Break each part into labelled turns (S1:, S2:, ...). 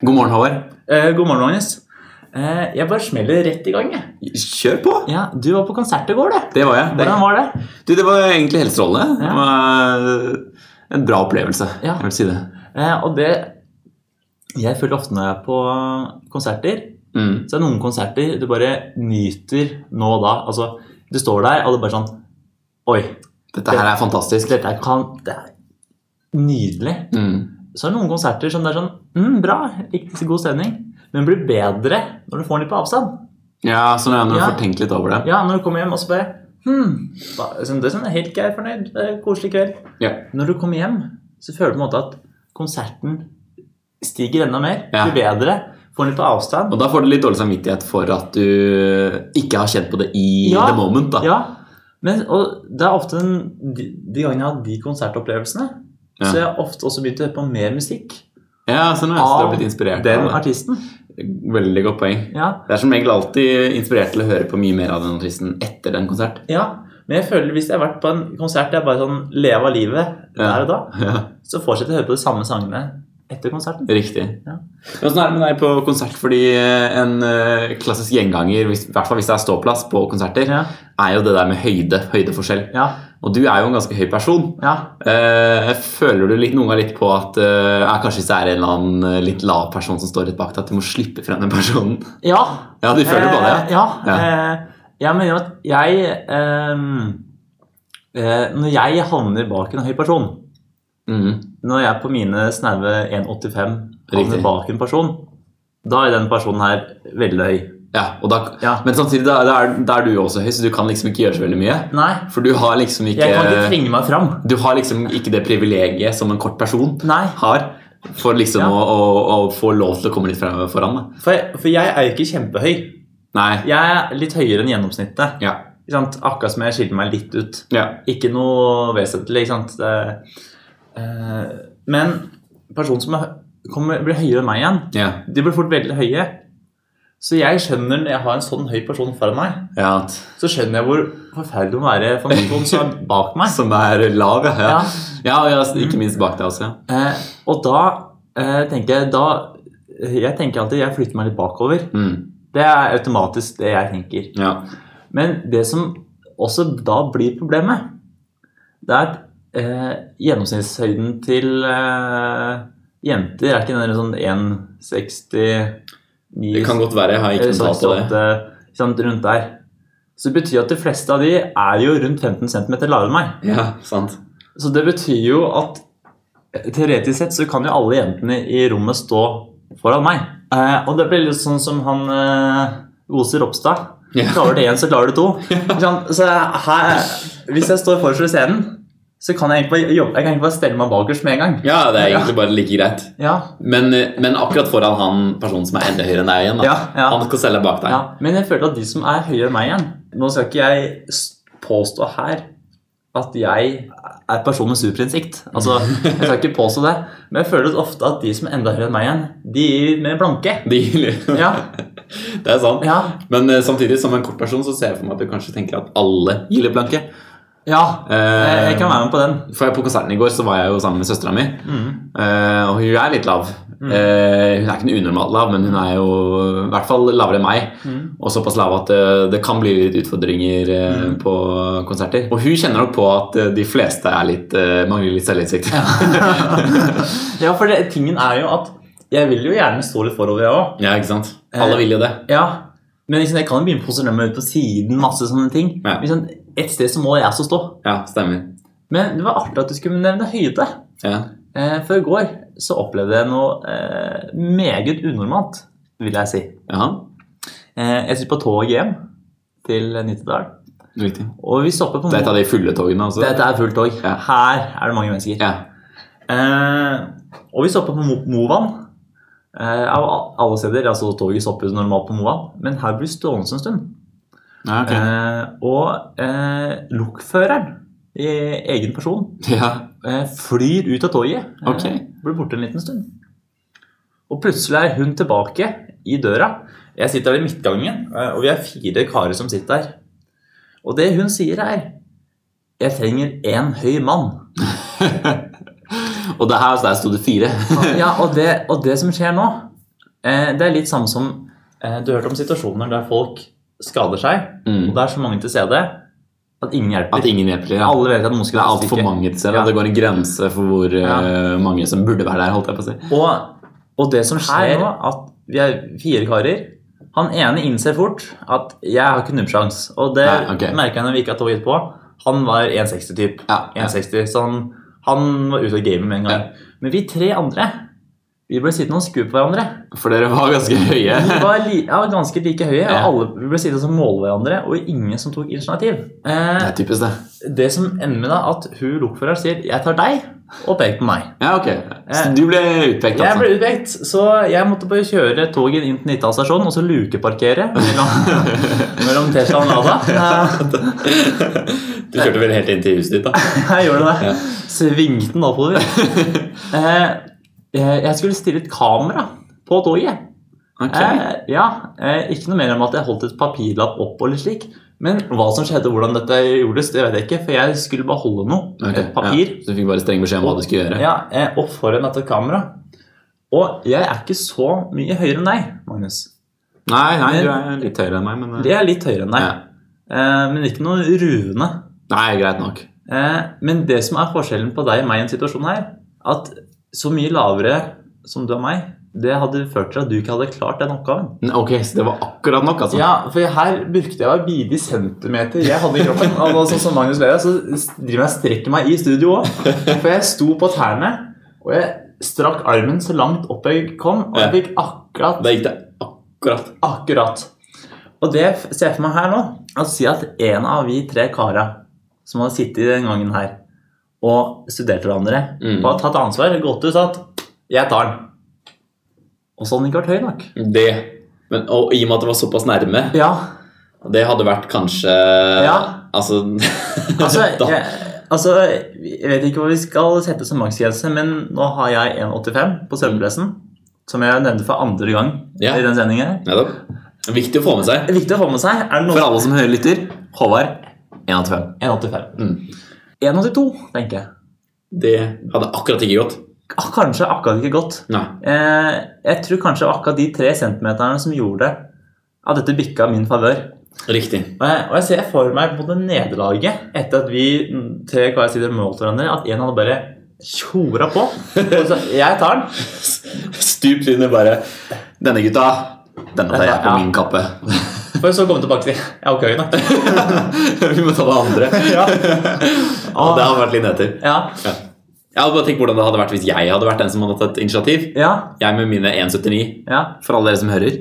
S1: God morgen, Håvard.
S2: Eh, god morgen, Magnus. Eh, jeg bare smeller rett i gang. Jeg.
S1: Kjør på!
S2: Ja, Du var på konsert i går, du.
S1: Det var jeg. Det,
S2: Hvordan var det?
S1: du, det var egentlig helt strålende. Det var eh, En bra opplevelse.
S2: Ja.
S1: Jeg vil si det.
S2: Eh, og det Jeg føler ofte når jeg er på konserter,
S1: Mm.
S2: så er det noen konserter du bare nyter nå og da. Altså, du står der, og det er bare sånn Oi,
S1: Dette her er fantastisk.
S2: dette er kan... Det er nydelig.
S1: Mm.
S2: Så er det noen konserter som det er sånn mm, Bra, riktig god stemning. Men blir bedre når du får den litt på avstand.
S1: Ja, sånn er det når du
S2: Ja.
S1: får tenkt litt over det.
S2: Ja, når du kommer hjem og så bare hmm, da, liksom, det er sånn, jeg er helt grei fornøyd, det er en koselig kveld.
S1: Ja.
S2: Når du kommer hjem, så føler du på en måte at konserten stiger enda mer,
S1: Ja.
S2: blir bedre, får litt på avstand.
S1: Og da får du litt dårlig samvittighet for at du eh, ikke har kjent på det i
S2: Ja.
S1: the moment. da.
S2: Ja, men og det er ofte den, de, de gangene jeg har hatt de konsertopplevelsene,
S1: Ja.
S2: så jeg har ofte også begynt å høre på mer musikk
S1: Ja, sånn er det. Så du har
S2: Av
S1: blitt inspirert
S2: den
S1: av det.
S2: artisten.
S1: Veldig godt poeng.
S2: Ja,
S1: Det er som regel alltid inspirert til å høre på mye mer av den artisten etter en konsert.
S2: ja. Men jeg føler hvis jeg har vært på en konsert der jeg bare sånn lever av livet der og da,
S1: Ja.
S2: så fortsetter jeg å høre på de samme sangene etter konserten.
S1: Riktig.
S2: Ja.
S1: Men Åssen er det med deg på konsert? Fordi eh, en eh, klassisk gjenganger, hvis, i hvert fall hvis det er ståplass på konserter,
S2: Ja,
S1: er jo det der med høyde, høydeforskjell.
S2: ja,
S1: Og du er jo en ganske høy person.
S2: ja.
S1: Eh, føler du litt, noen ganger litt på at eh, ja, kanskje hvis det er en eller annen eh, litt lav person som står rett bak deg, at du må slippe frem den personen?
S2: ja.
S1: Ja, du føler på det?
S2: Eh, ja. Eh, jeg mener at jeg ehm, eh, Når jeg havner bak en høy person
S1: Mm.
S2: Når jeg på mine snaue 1,85 havner
S1: Riktig.
S2: bak en person, da er den personen her veldig høy.
S1: ja og da,
S2: Ja.
S1: Men samtidig, da, da, er, da er du jo også høy, så du kan liksom ikke gjøre så veldig mye.
S2: Nei,
S1: For du har liksom ikke,
S2: jeg kan ikke tvinge meg fram.
S1: du har liksom ikke det privilegiet som en kort person
S2: Nei,
S1: har for liksom
S2: Ja.
S1: å, å, å få lov til å komme litt frem foran. Da.
S2: for, for jeg er jo ikke kjempehøy.
S1: Nei.
S2: Jeg er litt høyere enn gjennomsnittet.
S1: Ja.
S2: Ikke sant? Akkurat som jeg skiller meg litt ut.
S1: Ja.
S2: Ikke noe vesentlig, ikke sant. Det, eh, men personen som er, hø- kommer, blir høyere enn meg igjen,
S1: Ja.
S2: De blir fort veldig høye. Så jeg skjønner når jeg har en sånn høy person foran meg,
S1: ja. at-
S2: så skjønner jeg hvor forferdelig det må være for noen som er bak meg.
S1: Som er lav, ja. Ja,
S2: Ja.
S1: ja, og ja ikke minst bak deg også. Ja.
S2: Eh, og da eh, tenker jeg da Jeg tenker alltid jeg flytter meg litt bakover.
S1: Mm.
S2: Det er automatisk det jeg tenker.
S1: ja.
S2: Men det som også da blir problemet, det er at eh, gjennomsnittshøyden til eh, jenter er ikke den der sånn 1,69
S1: Det kan godt være. Jeg har ikke
S2: Eller
S1: noe tall på det.
S2: sånn at, eh, ikke sant, rundt der. Så det betyr at de fleste av de er jo rundt 15 cm lavere enn meg.
S1: Ja, sant.
S2: Så det betyr jo at eh, teoretisk sett så kan jo alle jentene i rommet stå foran meg. Eh, og det blir litt sånn som han eh, Gose Ropstad.
S1: Ja.
S2: Klarer du én, så klarer du to. Ikke sant? Så her, hvis jeg står forrest ved scenen, så kan jeg egentlig bare, jobbe, jeg kan egentlig bare stelle meg bakerst med en gang.
S1: Ja, det er egentlig bare like greit.
S2: Ja,
S1: Men, men akkurat foran han personen som er enda høyere enn deg igjen, da.
S2: ja, ja.
S1: Han skal selge bak deg.
S2: Ja, men jeg føler at de som er høyere enn meg igjen Nå skal ikke jeg s- påstå her at jeg er en person med superinnsikt. Altså, jeg skal ikke påstå det. Men jeg føler ofte at de som er enda høyere enn meg igjen, de er mer blanke.
S1: De,
S2: Ja,
S1: Det er sant.
S2: ja,
S1: Men eh, samtidig, som en kort person, så ser jeg for meg at du kanskje tenker at alle gilder blanke.
S2: ja. Jeg,
S1: Eh,
S2: jeg kan være med på den.
S1: For på konserten i går så var jeg jo sammen med søstera mi.
S2: Mm.
S1: Eh, og hun er litt lav.
S2: Mm.
S1: Eh, hun er ikke noe unormalt lav, men hun er jo i hvert fall lavere enn meg.
S2: Mm.
S1: Og såpass lav at eh, det kan bli litt utfordringer eh,
S2: Mm.
S1: på konserter. Og hun kjenner nok på at eh, de fleste er litt, eh, mangler litt selvinnsikt. Ja.
S2: Ja, for det, tingen er jo at jeg vil jo gjerne stå litt forover, jeg òg.
S1: ikke sant? Alle
S2: Eh.
S1: vil jo det.
S2: Ja. Men liksom, jeg kan jo begynne å posisjonere meg ut på siden, masse sånne ting.
S1: Ja.
S2: Liksom, et sted så må jeg også stå.
S1: Ja, stemmer.
S2: Men det var artig at du skulle nevne høyde.
S1: Ja.
S2: Eh, for i går så opplevde jeg noe eh, meget unormalt, vil jeg si.
S1: Jaha,
S2: Eh, jeg sitter på toget hjem til Nittedal,
S1: riktig.
S2: og vi stopper på
S1: Det er et av de fulle togene også.
S2: Dette er fullt tog.
S1: Ja.
S2: Her er det mange mennesker.
S1: Ja.
S2: Eh, og vi stopper på Mo Movan. Eh, av al- alle steder. altså Toget stopper normalt på Movan, men her blir vi stående en stund.
S1: Ja, ok.
S2: Eh, og eh, lokføreren i egen person
S1: ja.
S2: eh, flyr ut av toget. Eh,
S1: Ok.
S2: Blir borte en liten stund. Og plutselig er hun tilbake i døra. Jeg sitter der i midtgangen, eh, og vi er fire karer som sitter der. Og det hun sier, er 'Jeg trenger én høy mann'.
S1: Og det her, så der sto det fire.
S2: Ja, og det, og det som skjer nå, Eh, det er litt samme som eh, Du hørte om situasjoner der folk skader seg,
S1: Mm.
S2: og det er så mange til stede at ingen hjelper.
S1: At ingen hjelper til. ja.
S2: Alle vet at noen
S1: Det
S2: skal
S1: er
S2: være
S1: altfor
S2: syke.
S1: mange til selv.
S2: Ja.
S1: og Det går en grense for hvor
S2: Ja.
S1: eh, mange som burde være der. holdt jeg på å si.
S2: Og, og det som
S1: Her-
S2: skjer nå, at vi er fire karer Han ene innser fort at 'jeg har ikke nubbsjans'. Og det
S1: Nei, ok.
S2: merka han da vi ikke hadde toget på. Han var 1,60-typ.
S1: Ja, ja.
S2: 1,60, Så han, han var ute av gamet med en gang. Men vi tre andre vi ble sittende og skue på hverandre.
S1: For dere var ganske høye.
S2: Vi var li ja, ganske like høye, og
S1: Ja.
S2: alle vi ble sittende og måle hverandre. Og ingen som tok initiativ. Eh,
S1: Det er typisk, det.
S2: det som ender med da, at hun lokføreren sier 'jeg tar deg', og peker på meg.
S1: Ja, ok. Så du ble utpekt,
S2: Jeg
S1: altså?
S2: ble utpekt, så jeg måtte bare kjøre toget inn til Nittdal stasjon og så lukeparkere mellom, mellom Tesla og Lada.
S1: Du kjørte vel helt inn til huset ditt, da?
S2: Eh, Jeg gjorde det. Svingte den oppover. Eh, Jeg jeg skulle stille et kamera på toget.
S1: Ok.
S2: Eh, Ja, eh, Ikke noe mer om at jeg holdt et papirlapp opp og litt slik. Men hva som skjedde, hvordan dette gjordes, det vet jeg ikke. For jeg skulle beholde noe.
S1: Ok,
S2: Et papir.
S1: Ja. Så du fikk bare streng beskjed om hva du skulle gjøre?
S2: Ja, eh, og foran dette kameraet. Og jeg er ikke så mye høyere enn deg, Magnus.
S1: Nei, nei, du er litt høyere enn meg, men
S2: Det er litt høyere enn deg.
S1: Ja.
S2: Eh, men ikke noe ruvende.
S1: Nei, greit nok.
S2: Eh, men det som er forskjellen på deg og meg i en situasjon her, at så mye lavere som du og meg, det hadde ført til at du ikke hadde klart den oppgaven.
S1: N- Ok, Så det var akkurat nok, altså?
S2: Ja, for her brukte jeg hver bidige centimeter jeg hadde i kroppen. Og sånn som Magnus Lea, så driver jeg og strekker meg i studio òg. For jeg sto på tærne, og jeg strakk armen så langt opp jeg kom, og jeg fikk akkurat
S1: Da gikk det akkurat.
S2: Akkurat. Og det f- ser jeg for meg her nå. At si at en av vi tre kara som hadde sittet i den gangen her og studert hverandre,
S1: Mm.
S2: og hadde tatt ansvar, gått ut og sagt 'jeg tar den'. Og så hadde den ikke vært høy nok.
S1: Det. Men, og i og med at det var såpass nærme,
S2: Ja,
S1: det hadde vært kanskje
S2: Ja.
S1: Altså,
S2: altså
S1: da-
S2: jeg, altså jeg vet ikke hva vi skal sette som maksgrense, men nå har jeg 1,85 på svømmepressen. Som jeg nevnte for andre gang
S1: Ja.
S2: i den sendingen.
S1: Nettopp. Viktig å få med seg.
S2: Det er viktig å få med seg. Er det
S1: For
S2: noen
S1: alle som hører lytter, Håvard 1,85.
S2: 1,85.
S1: Mm.
S2: 1,82, tenker jeg.
S1: Det hadde akkurat ikke gått.
S2: Ah, Kanskje akkurat ikke godt.
S1: Nei.
S2: Eh, jeg tror kanskje det var akkurat de tre centimeterne som gjorde at dette bikka min favør.
S1: Riktig.
S2: Og jeg, og jeg ser for meg på det nederlaget etter at vi mm, tre hver side målte hverandre, at en hadde bare tjora på. Og så, jeg tar den.
S1: Stupt inn i bare Denne gutta, denne tar jeg på
S2: Ja.
S1: min kappe.
S2: For så å komme tilbake til Jeg var ikke høy nok.
S1: Vi må ta det andre.
S2: Ja.
S1: Og det hadde vært litt etter.
S2: Ja.
S1: Ja. Jeg hadde bare tenkt hvordan det hadde vært hvis jeg hadde vært den som hadde tatt initiativ.
S2: Ja.
S1: Jeg med mine 1,79.
S2: ja.
S1: For alle dere som hører.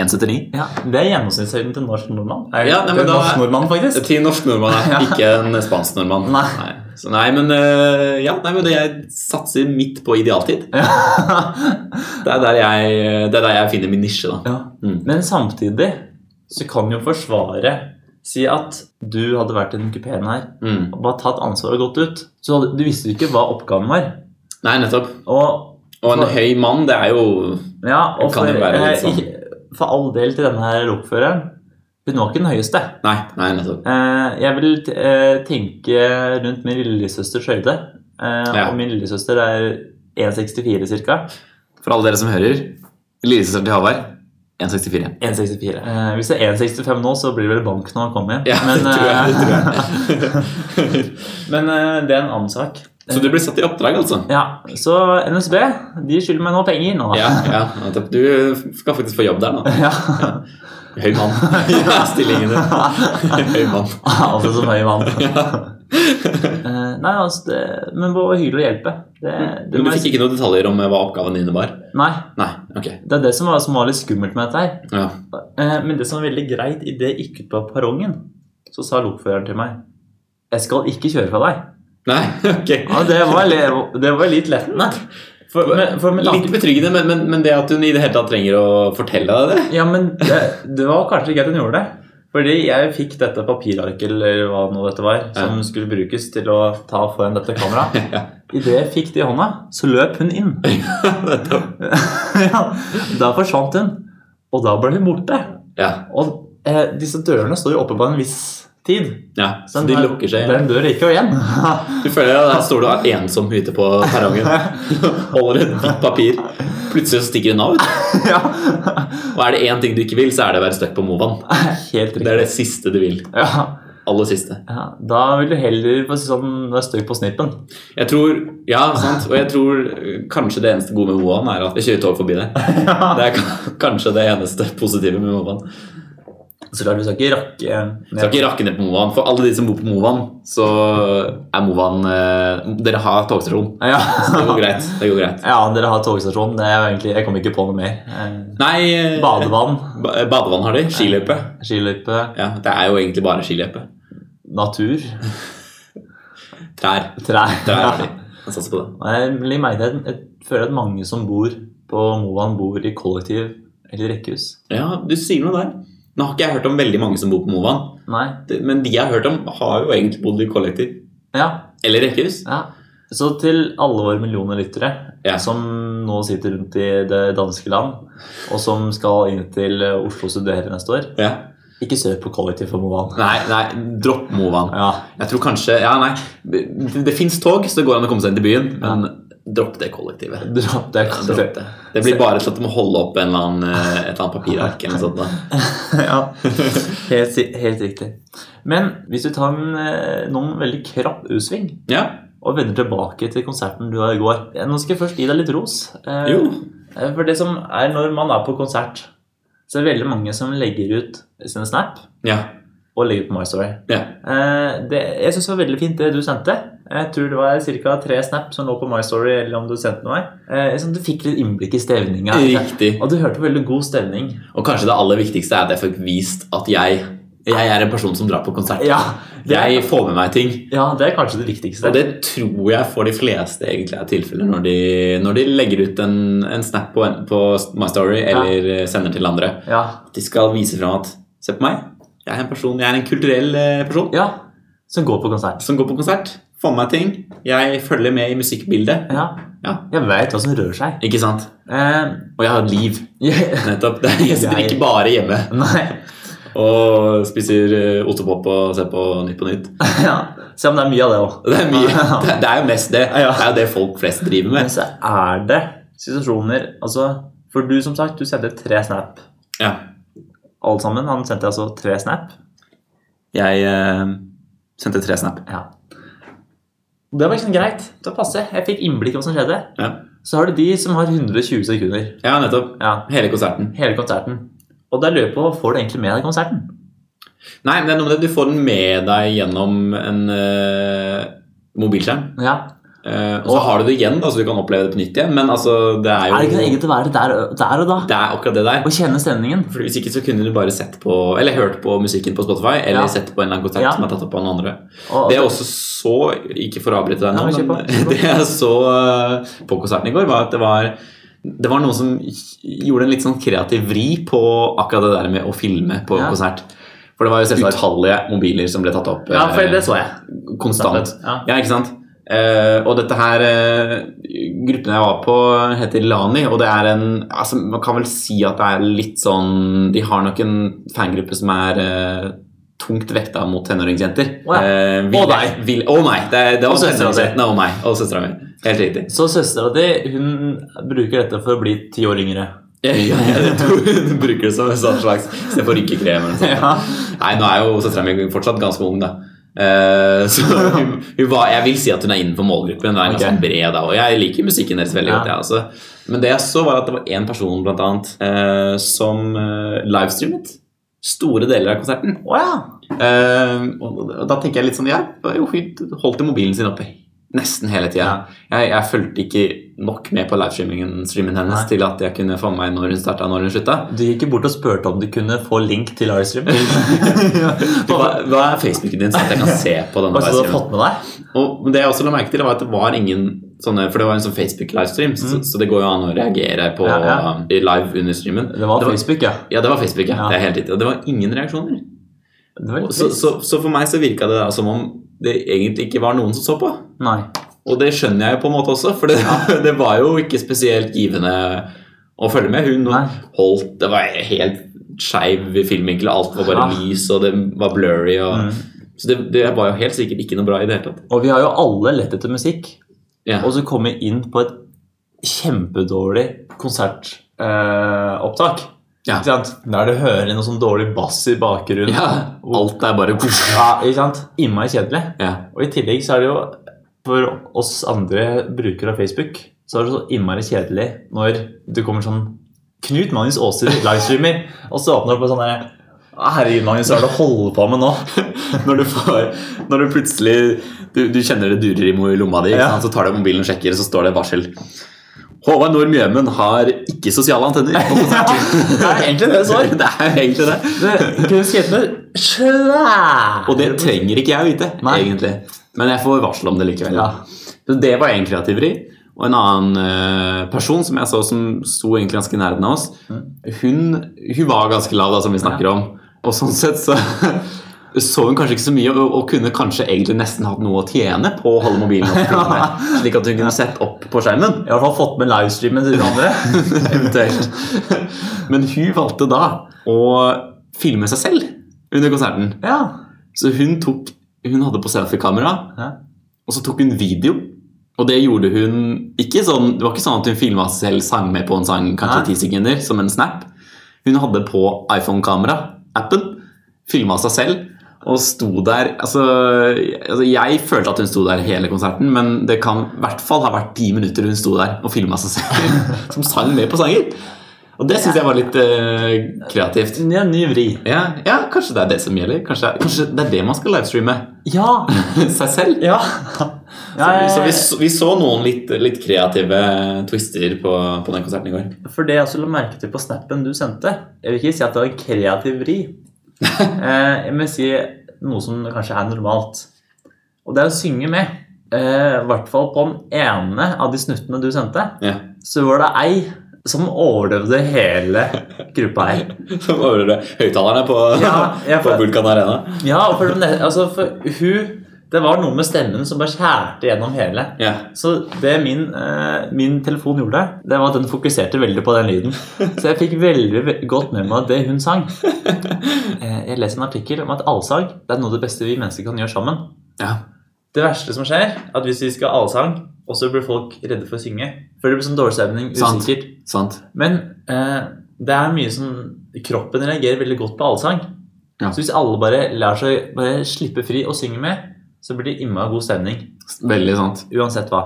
S1: 1,79.
S2: ja. Det er gjennomsnittshøyden til norsk nordmann. Er,
S1: Ja, nei, men
S2: til
S1: da-
S2: norsk nordmann, faktisk.
S1: Til norsk nordmann, ja.
S2: Ja.
S1: ikke en spansk nordmann.
S2: Nei.
S1: Så nei, men, øh, ja, nei, men det- jeg satser midt på idealtid. Det er der jeg, det er der jeg finner min nisje, da.
S2: Ja.
S1: Mm.
S2: Men samtidig så kan jo Forsvaret si at du hadde vært i den kupeen her
S1: Mm.
S2: og bare tatt ansvar og gått ut. Så hadde, du visste jo ikke hva oppgaven var.
S1: Nei, nettopp.
S2: Og,
S1: Og en høy mann, det er jo
S2: ja, og
S1: Kan
S2: for,
S1: det være litt
S2: eh,
S1: sånn?
S2: ikke- for all del til denne her lokføreren Hun var ikke den høyeste.
S1: Nei, nei nettopp.
S2: Eh, jeg vil t- eh, tenke rundt min lillesøsters høyde. Eh,
S1: Ja.
S2: Og min lillesøster er 1,64 ca.
S1: For alle dere som hører, lillesøster til Havard 1,64.
S2: 1,64. Eh, hvis det er 1,65 nå, så blir det vel bank når han kommer hjem.
S1: Ja, det tror jeg. Det
S2: eh,
S1: tror jeg.
S2: Men eh, det er en annen sak.
S1: Så du ble satt i oppdrag, altså?
S2: Ja, Så NSB de skylder meg nå penger nå.
S1: Ja, ja, nettopp. Du skal faktisk få jobb der, da.
S2: Ja.
S1: Høy mann. Ja, stillingen din. Høy mann.
S2: altså som høy mann. Eh, nei, altså, det, men det var hyggelig å hjelpe. Det, det
S1: Men du
S2: må jeg
S1: fikk ikke noen detaljer om eh, hva oppgaven innebar?
S2: si. Nei,
S1: Nei, ok.
S2: det er det som var, som var litt skummelt med dette her.
S1: Ja.
S2: Eh, men det som var veldig greit idet jeg gikk ut på perrongen, så sa lokføreren til meg Jeg skal ikke kjøre fra deg.
S1: Nei, ok.
S2: Ja, det var, le- det var litt lettende. For, men, for med tanke
S1: Litt betryggende, men, men, men det at hun i det hele tatt trenger å fortelle deg det
S2: Ja, men det, det var kanskje greit hun gjorde det. Fordi jeg fikk dette papirarket, eller hva nå dette var, som skulle brukes til å ta foran dette kameraet.
S1: Ja.
S2: Idet jeg fikk det i hånda, så løp hun inn. ja, da forsvant hun. Og da ble hun borte.
S1: Ja,
S2: Og eh, disse dørene står jo oppe på en viss tid.
S1: Ja, så de
S2: her-
S1: lukker seg igjen.
S2: Den dør ikke igjen.
S1: Du føler at der står du av ensom ute på perrongen. Holder et hvitt papir. Plutselig så stikker hun av. vet du.
S2: ja.
S1: Og er det én ting du ikke vil, så er det å være stuck på Movan.
S2: Helt
S1: Det
S2: riktig.
S1: er det siste du vil.
S2: Ja.
S1: Aller siste.
S2: ja. Da vil du heller for å si sånn, være støy på snippen.
S1: Jeg tror, ja, sant, og jeg tror kanskje det eneste gode med Movan er at vi kjører tog forbi det. Det er ka- kanskje det eneste positive med Movan.
S2: Så klart, du skal ikke rakke
S1: Skal ikke rakke ned på Movan. For alle de som bor på Movan, så er Movan eh, Dere har togstasjon.
S2: Ja.
S1: Det går greit. Det går greit.
S2: ja, dere har togstasjon. Det er jo egentlig, jeg kom ikke på noe mer. Eh,
S1: Nei, eh,
S2: Badevann,
S1: ba- eh, badevann har de. Skiløype.
S2: skiløype,
S1: Ja, det er jo egentlig bare skiløype.
S2: natur,
S1: Trær.
S2: trær.
S1: Trær
S2: Ja.
S1: er artig. Jeg satser på det.
S2: Og Jeg, legger merke til at- jeg føler at mange som bor på Moan, bor i kollektiv eller rekkehus.
S1: Ja, du sier noe der. Nå har ikke jeg hørt om veldig mange som bor på Movan.
S2: Nei.
S1: Det- Men de jeg har hørt om, har jo egentlig bodd i kollektiv.
S2: Ja.
S1: Eller rekkehus.
S2: ja. Så til alle våre millioner lyttere
S1: Ja.
S2: som nå sitter rundt i det danske land, og som skal inn til Oslo og studere neste år,
S1: Ja.
S2: ikke søk på kollektiv for Moan.
S1: Nei, nei, dropp Movan.
S2: Ja.
S1: Jeg tror kanskje Ja, nei. Det, det fins tog, så det går an å komme seg inn til byen, men dropp det kollektivet.
S2: Dropp det.
S1: Dropp det. det blir bare til at du må holde opp en eller annen, eh, et eller annet papirark eller noe sånt. Da.
S2: ja, helt, si- helt riktig. Men hvis du tar en, eh, noen veldig krapp U-sving
S1: Ja,
S2: og vender tilbake til konserten du var i går eh, Nå skal jeg først gi deg litt ros. eh,
S1: jo.
S2: eh, For det som er når man er på konsert, så er det veldig mange som legger ut sin snap
S1: Ja.
S2: og legger ut på My Story.
S1: ja.
S2: Eh, Det, jeg syns det var veldig fint, det du sendte. Jeg tror det var ca. tre snap som lå på My Story, eller om du sendte noe. Eh, jeg synes Du fikk litt innblikk i stevninga.
S1: Riktig.
S2: Og du hørte veldig god stevning.
S1: Og kanskje det aller viktigste er at jeg fikk vist at jeg, jeg er en person som drar på konsert.
S2: Ja, det er,
S1: Jeg får med meg ting.
S2: ja, det er kanskje det viktigste.
S1: Og det tror jeg for de fleste egentlig er tilfellet når de, når de legger ut en, en snap på, en- på My Story eller eh, sender til andre.
S2: Ja,
S1: At de skal vise fram at Se på meg. Jeg er en person, jeg er en kulturell eh, person.
S2: ja. Som går på konsert.
S1: som går på konsert. Får med meg ting. Jeg følger med i musikkbildet.
S2: Ja.
S1: Ja.
S2: Jeg veit hva som rører seg.
S1: Ikke sant?
S2: Eh,
S1: Og jeg har et liv.
S2: jeg,
S1: Nettopp. Det er- Jeg sitter
S2: Jeg-
S1: ikke bare hjemme
S2: nei.
S1: og spiser eh, ostepop og ser på Nytt på Nytt.
S2: Ja. Se om det er mye av det òg.
S1: Det er, mye, det- det er jo mest det. Det
S2: Ja.
S1: er jo det folk flest driver
S2: Men
S1: med.
S2: så er det situasjoner Altså, for du, som sagt, du sendte tre snap.
S1: Ja.
S2: Alle sammen. Han sendte altså tre snap.
S1: Jeg eh, sendte tre snap.
S2: Ja. Og Det var liksom greit. Det passer. Jeg fikk innblikk i hva som skjedde.
S1: Ja.
S2: Så har du de som har 120 sekunder.
S1: ja, nettopp.
S2: Ja.
S1: Hele konserten.
S2: Hele konserten. Og der lurer jeg på, får du egentlig med deg konserten?
S1: Nei, men det er noe med det. Du får den med deg gjennom en eh, mobilskjerm.
S2: Ja.
S1: Eh, og så har du det igjen, da, så du kan oppleve det på nytt igjen. Men altså, det er jo
S2: Er det ikke noe eget å være der, der og da?
S1: Det er akkurat det der.
S2: Å kjenne stemningen.
S1: For Hvis ikke så kunne du bare sett på Eller hørt på musikken på Spotify, eller
S2: Ja.
S1: sett på en eller annen konsert
S2: Ja.
S1: som er tatt opp av noen andre.
S2: Og,
S1: Det er også så Ikke for å avbryte deg nå,
S2: Nei, men kjør på, kjør
S1: men
S2: på.
S1: det jeg så eh, på konserten i går, var at det var det var noen som gjorde en litt sånn kreativ vri på akkurat det der med å filme på
S2: Ja.
S1: konsert. For det var jo selvfølgelig utallige mobiler som ble tatt opp
S2: ja,
S1: eh,
S2: for det så jeg.
S1: konstant.
S2: Ja.
S1: Ja, ikke sant? Eh, og dette her eh, Gruppen jeg var på, heter Lani, og det er en altså, Man kan vel si at det er litt sånn De har nok en fangruppe som er eh, tungt vekta mot tenåringsjenter.
S2: Å ja.
S1: Eh, vil-
S2: Og deg.
S1: vil- Og meg! Det, det
S2: Og
S1: var
S2: søstera di.
S1: tenåringsjentene og meg. Og søstera mi. Helt riktig.
S2: Så søstera di hun bruker dette for å bli ti år yngre.
S1: Ja, ja, jeg tror hun bruker det som en sånn slags istedenfor rynkekrem. eller noe sånt.
S2: Ja.
S1: Nei, nå er jo søstera mi fortsatt ganske ung, da. Eh, så hun, hun var, jeg vil si at hun er innenfor målgruppen. Hun er ganske
S2: Ok.
S1: bred da Og jeg liker musikken deres veldig
S2: Ja.
S1: godt. Jeg, altså. Men det jeg så, var at det var én person blant annet, eh, som eh, livestreamet store deler av konserten.
S2: Å ja.
S1: Eh, og, og da tenker jeg litt sånn Ja, jo, hun holdt jo mobilen sin oppe nesten hele tida.
S2: Ja.
S1: Jeg, jeg fulgte ikke nok med på livestreamingen streamen hennes
S2: Nei.
S1: til at jeg kunne få med meg når hun starta og når hun slutta.
S2: Du gikk jo bort og spurte om du kunne få link til livestream.
S1: Du, Hva, hva er Facebooken din, sånn at jeg kan se på denne
S2: Hva så du har
S1: livestreamen?
S2: fått med deg?
S1: Og det jeg også la merke til, var at det var ingen sånne For det var en sånn Facebook-livestream, så, så det går jo an å reagere på
S2: Ja, ja.
S1: um, live under streamen.
S2: Det var Facebook, ja.
S1: Ja, det var Facebook, ja.
S2: Ja.
S1: Det er helt riktig. Og det var ingen reaksjoner.
S2: Det var
S1: Og Så, så, så for meg så virka det da som om det egentlig ikke var noen som så på.
S2: Nei.
S1: Og det skjønner jeg jo på en måte også, for det, det var jo ikke spesielt givende å følge med. Hun
S2: Nei.
S1: holdt Det var helt skeiv filmvinkel, alt var bare
S2: Ah.
S1: lys, og det var blurry. Og, Så det, det var jo helt sikkert ikke noe bra i det hele tatt.
S2: Og vi har jo alle lett etter musikk.
S1: Ja.
S2: Og så komme inn på et kjempedårlig konsertopptak.
S1: Ja.
S2: Ikke sant? Der du hører noe sånn dårlig bass i bakgrunnen.
S1: ja, alt er bare
S2: Ja, ikke sant? Innmari kjedelig.
S1: ja.
S2: Og i tillegg så er det jo for oss andre brukere av Facebook så er det så innmari kjedelig når det kommer sånn Knut Magnus Aasrud livestreamer, og så åpner det opp en sånn derre Herregud, Magnus, hva er det du holder på med nå?
S1: Når du, får, når du plutselig du, du kjenner det durer i mo- i lomma di, ikke
S2: Ja.
S1: sant? så tar du mobilen og sjekker, og så står det et varsel. Håvard Nord Mjømen har ikke sosiale antenner.
S2: Det er egentlig det det står.
S1: det er egentlig det.
S2: Det kunne skrevet noe svært
S1: Og det trenger ikke jeg å vite,
S2: Nei.
S1: egentlig. Men jeg får varsel om det likevel.
S2: Ja.
S1: Så det var en kreativri. Og en annen eh, person som jeg så som sto egentlig ganske nærheten av oss, hun, hun var ganske lav, da, som vi snakker om. Og sånn sett så så hun kanskje ikke så mye, og, og kunne kanskje egentlig nesten hatt noe å tjene på å holde mobilen oppe. filmen, Slik at hun kunne sett opp på skjermen.
S2: I hvert fall fått med livestreamen til de andre.
S1: Eventuelt. Men hun valgte da å filme seg selv under konserten.
S2: Ja.
S1: Så hun tok Hun hadde på selfie-kamera,
S2: Ja.
S1: og så tok hun video. Og det gjorde hun ikke sånn Det var ikke sånn at hun filma seg selv, sang med på en sang
S2: Nei.
S1: kanskje ti sekunder, som en snap. Hun hadde på iPhone-kamera-appen, filma seg selv og sto der altså, altså, jeg følte at hun sto der hele konserten, men det kan i hvert fall ha vært ti minutter hun sto der og filma seg selv, som sang med på sanger. Og det syns jeg var litt eh, kreativt.
S2: Ja, Ny vri.
S1: Ja, ja, kanskje det er det som gjelder. Kanskje, kanskje det er det man skal livestreame.
S2: Ja.
S1: Seg selv.
S2: Ja. Jeg-
S1: Så, vi, så vi, så noen litt, litt kreative twister på, på den konserten i går.
S2: For det jeg også la merke til på snappen du sendte Jeg vil ikke si at det var en kreativ vri. Eh, jeg må si noe som kanskje er normalt. Og det er å synge med. Eh, I hvert fall på den ene av de snuttene du sendte,
S1: Ja.
S2: så var det ei som overlevde hele gruppa her.
S1: Som overhørte høyttalerne på,
S2: Ja, ja,
S1: på
S2: for-
S1: Vulkan Arena.
S2: Ja, for, den- altså, for hun Det var noe med stemmen som bare skjærte gjennom hele.
S1: Ja.
S2: Så det min, eh, min telefon gjorde, det var at den fokuserte veldig på den lyden. Så jeg fikk veldig ve- godt med meg det hun sang. Eh, jeg leser en artikkel om at allsang det er noe av det beste vi mennesker kan gjøre sammen.
S1: Ja.
S2: Det verste som skjer, er at hvis vi skal ha allsang, og så blir folk redde for å synge. For det blir sånn dårlig stemning.
S1: Sant.
S2: Usikkert.
S1: Sant.
S2: Men eh, det er mye som Kroppen reagerer veldig godt på allsang.
S1: Ja.
S2: Så hvis alle bare lar seg bare slippe fri og synge med, så blir det innmari god stemning.
S1: Veldig sant.
S2: Uansett hva.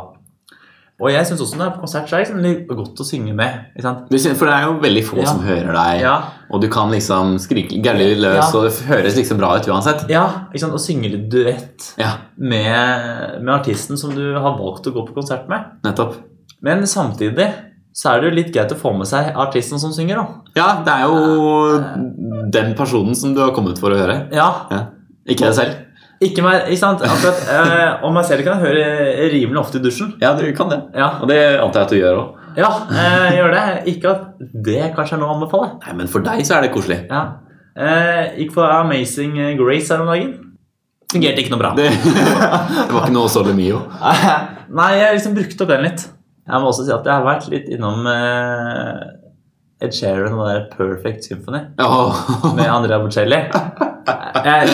S2: Og jeg syns også når jeg er på konsert, så er det liksom litt godt å synge med. ikke sant?
S1: Det synes- For det er jo veldig få
S2: Ja.
S1: som hører deg,
S2: Ja,
S1: og du kan liksom skrike gærlig løs,
S2: Ja.
S1: og det høres liksom bra ut uansett.
S2: ja ikke sant? Å synge litt duett
S1: Ja,
S2: med, med artisten som du har valgt å gå på konsert med.
S1: nettopp.
S2: Men samtidig så er det jo litt greit å få med seg artisten som synger, da.
S1: Ja, det er jo den personen som du har kommet for å høre.
S2: Ja,
S1: Ja. Ikke deg selv.
S2: ikke meg, ikke sant? Akkurat, eh, og meg selv kan jeg høre rimelig ofte i dusjen.
S1: Ja, du kan det.
S2: Ja,
S1: Og det antar jeg at du gjør òg.
S2: ja eh, gjør det. Ikke at det kanskje er noe å anbefale.
S1: Nei, men for deg så er det koselig.
S2: Ja. Eh, gikk på Amazing Grace her om dagen. Fungerte ikke noe bra.
S1: Det, det var ikke noe Sole Mio.
S2: Nei, jeg liksom brukte opp den litt. Jeg må også si at jeg har vært litt innom eh, Ed Sheeran og det der Perfect Symphony
S1: Åh.
S2: med Andrea Bocelli. Jeg,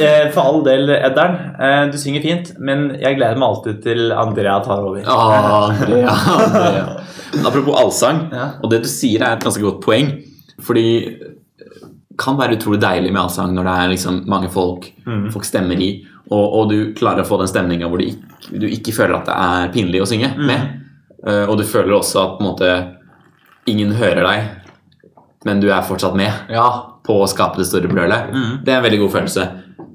S2: jeg, for all del, Edderen, eh, du synger fint, men jeg gleder meg alltid til Andrea tar over.
S1: Åh, Andrea, Andrea. Men Apropos allsang,
S2: Ja.
S1: og det du sier er et ganske godt poeng. Fordi det kan være utrolig deilig med allsang når det er liksom mange folk,
S2: Mm.
S1: folk stemmer i, og, og du klarer å få den stemninga hvor du ikke, du ikke føler at det er pinlig å synge med. Eh, Og du føler også at på en måte ingen hører deg, men du er fortsatt med.
S2: Ja.
S1: på å skape det store brølet.
S2: Mhm.
S1: Det er en veldig god følelse.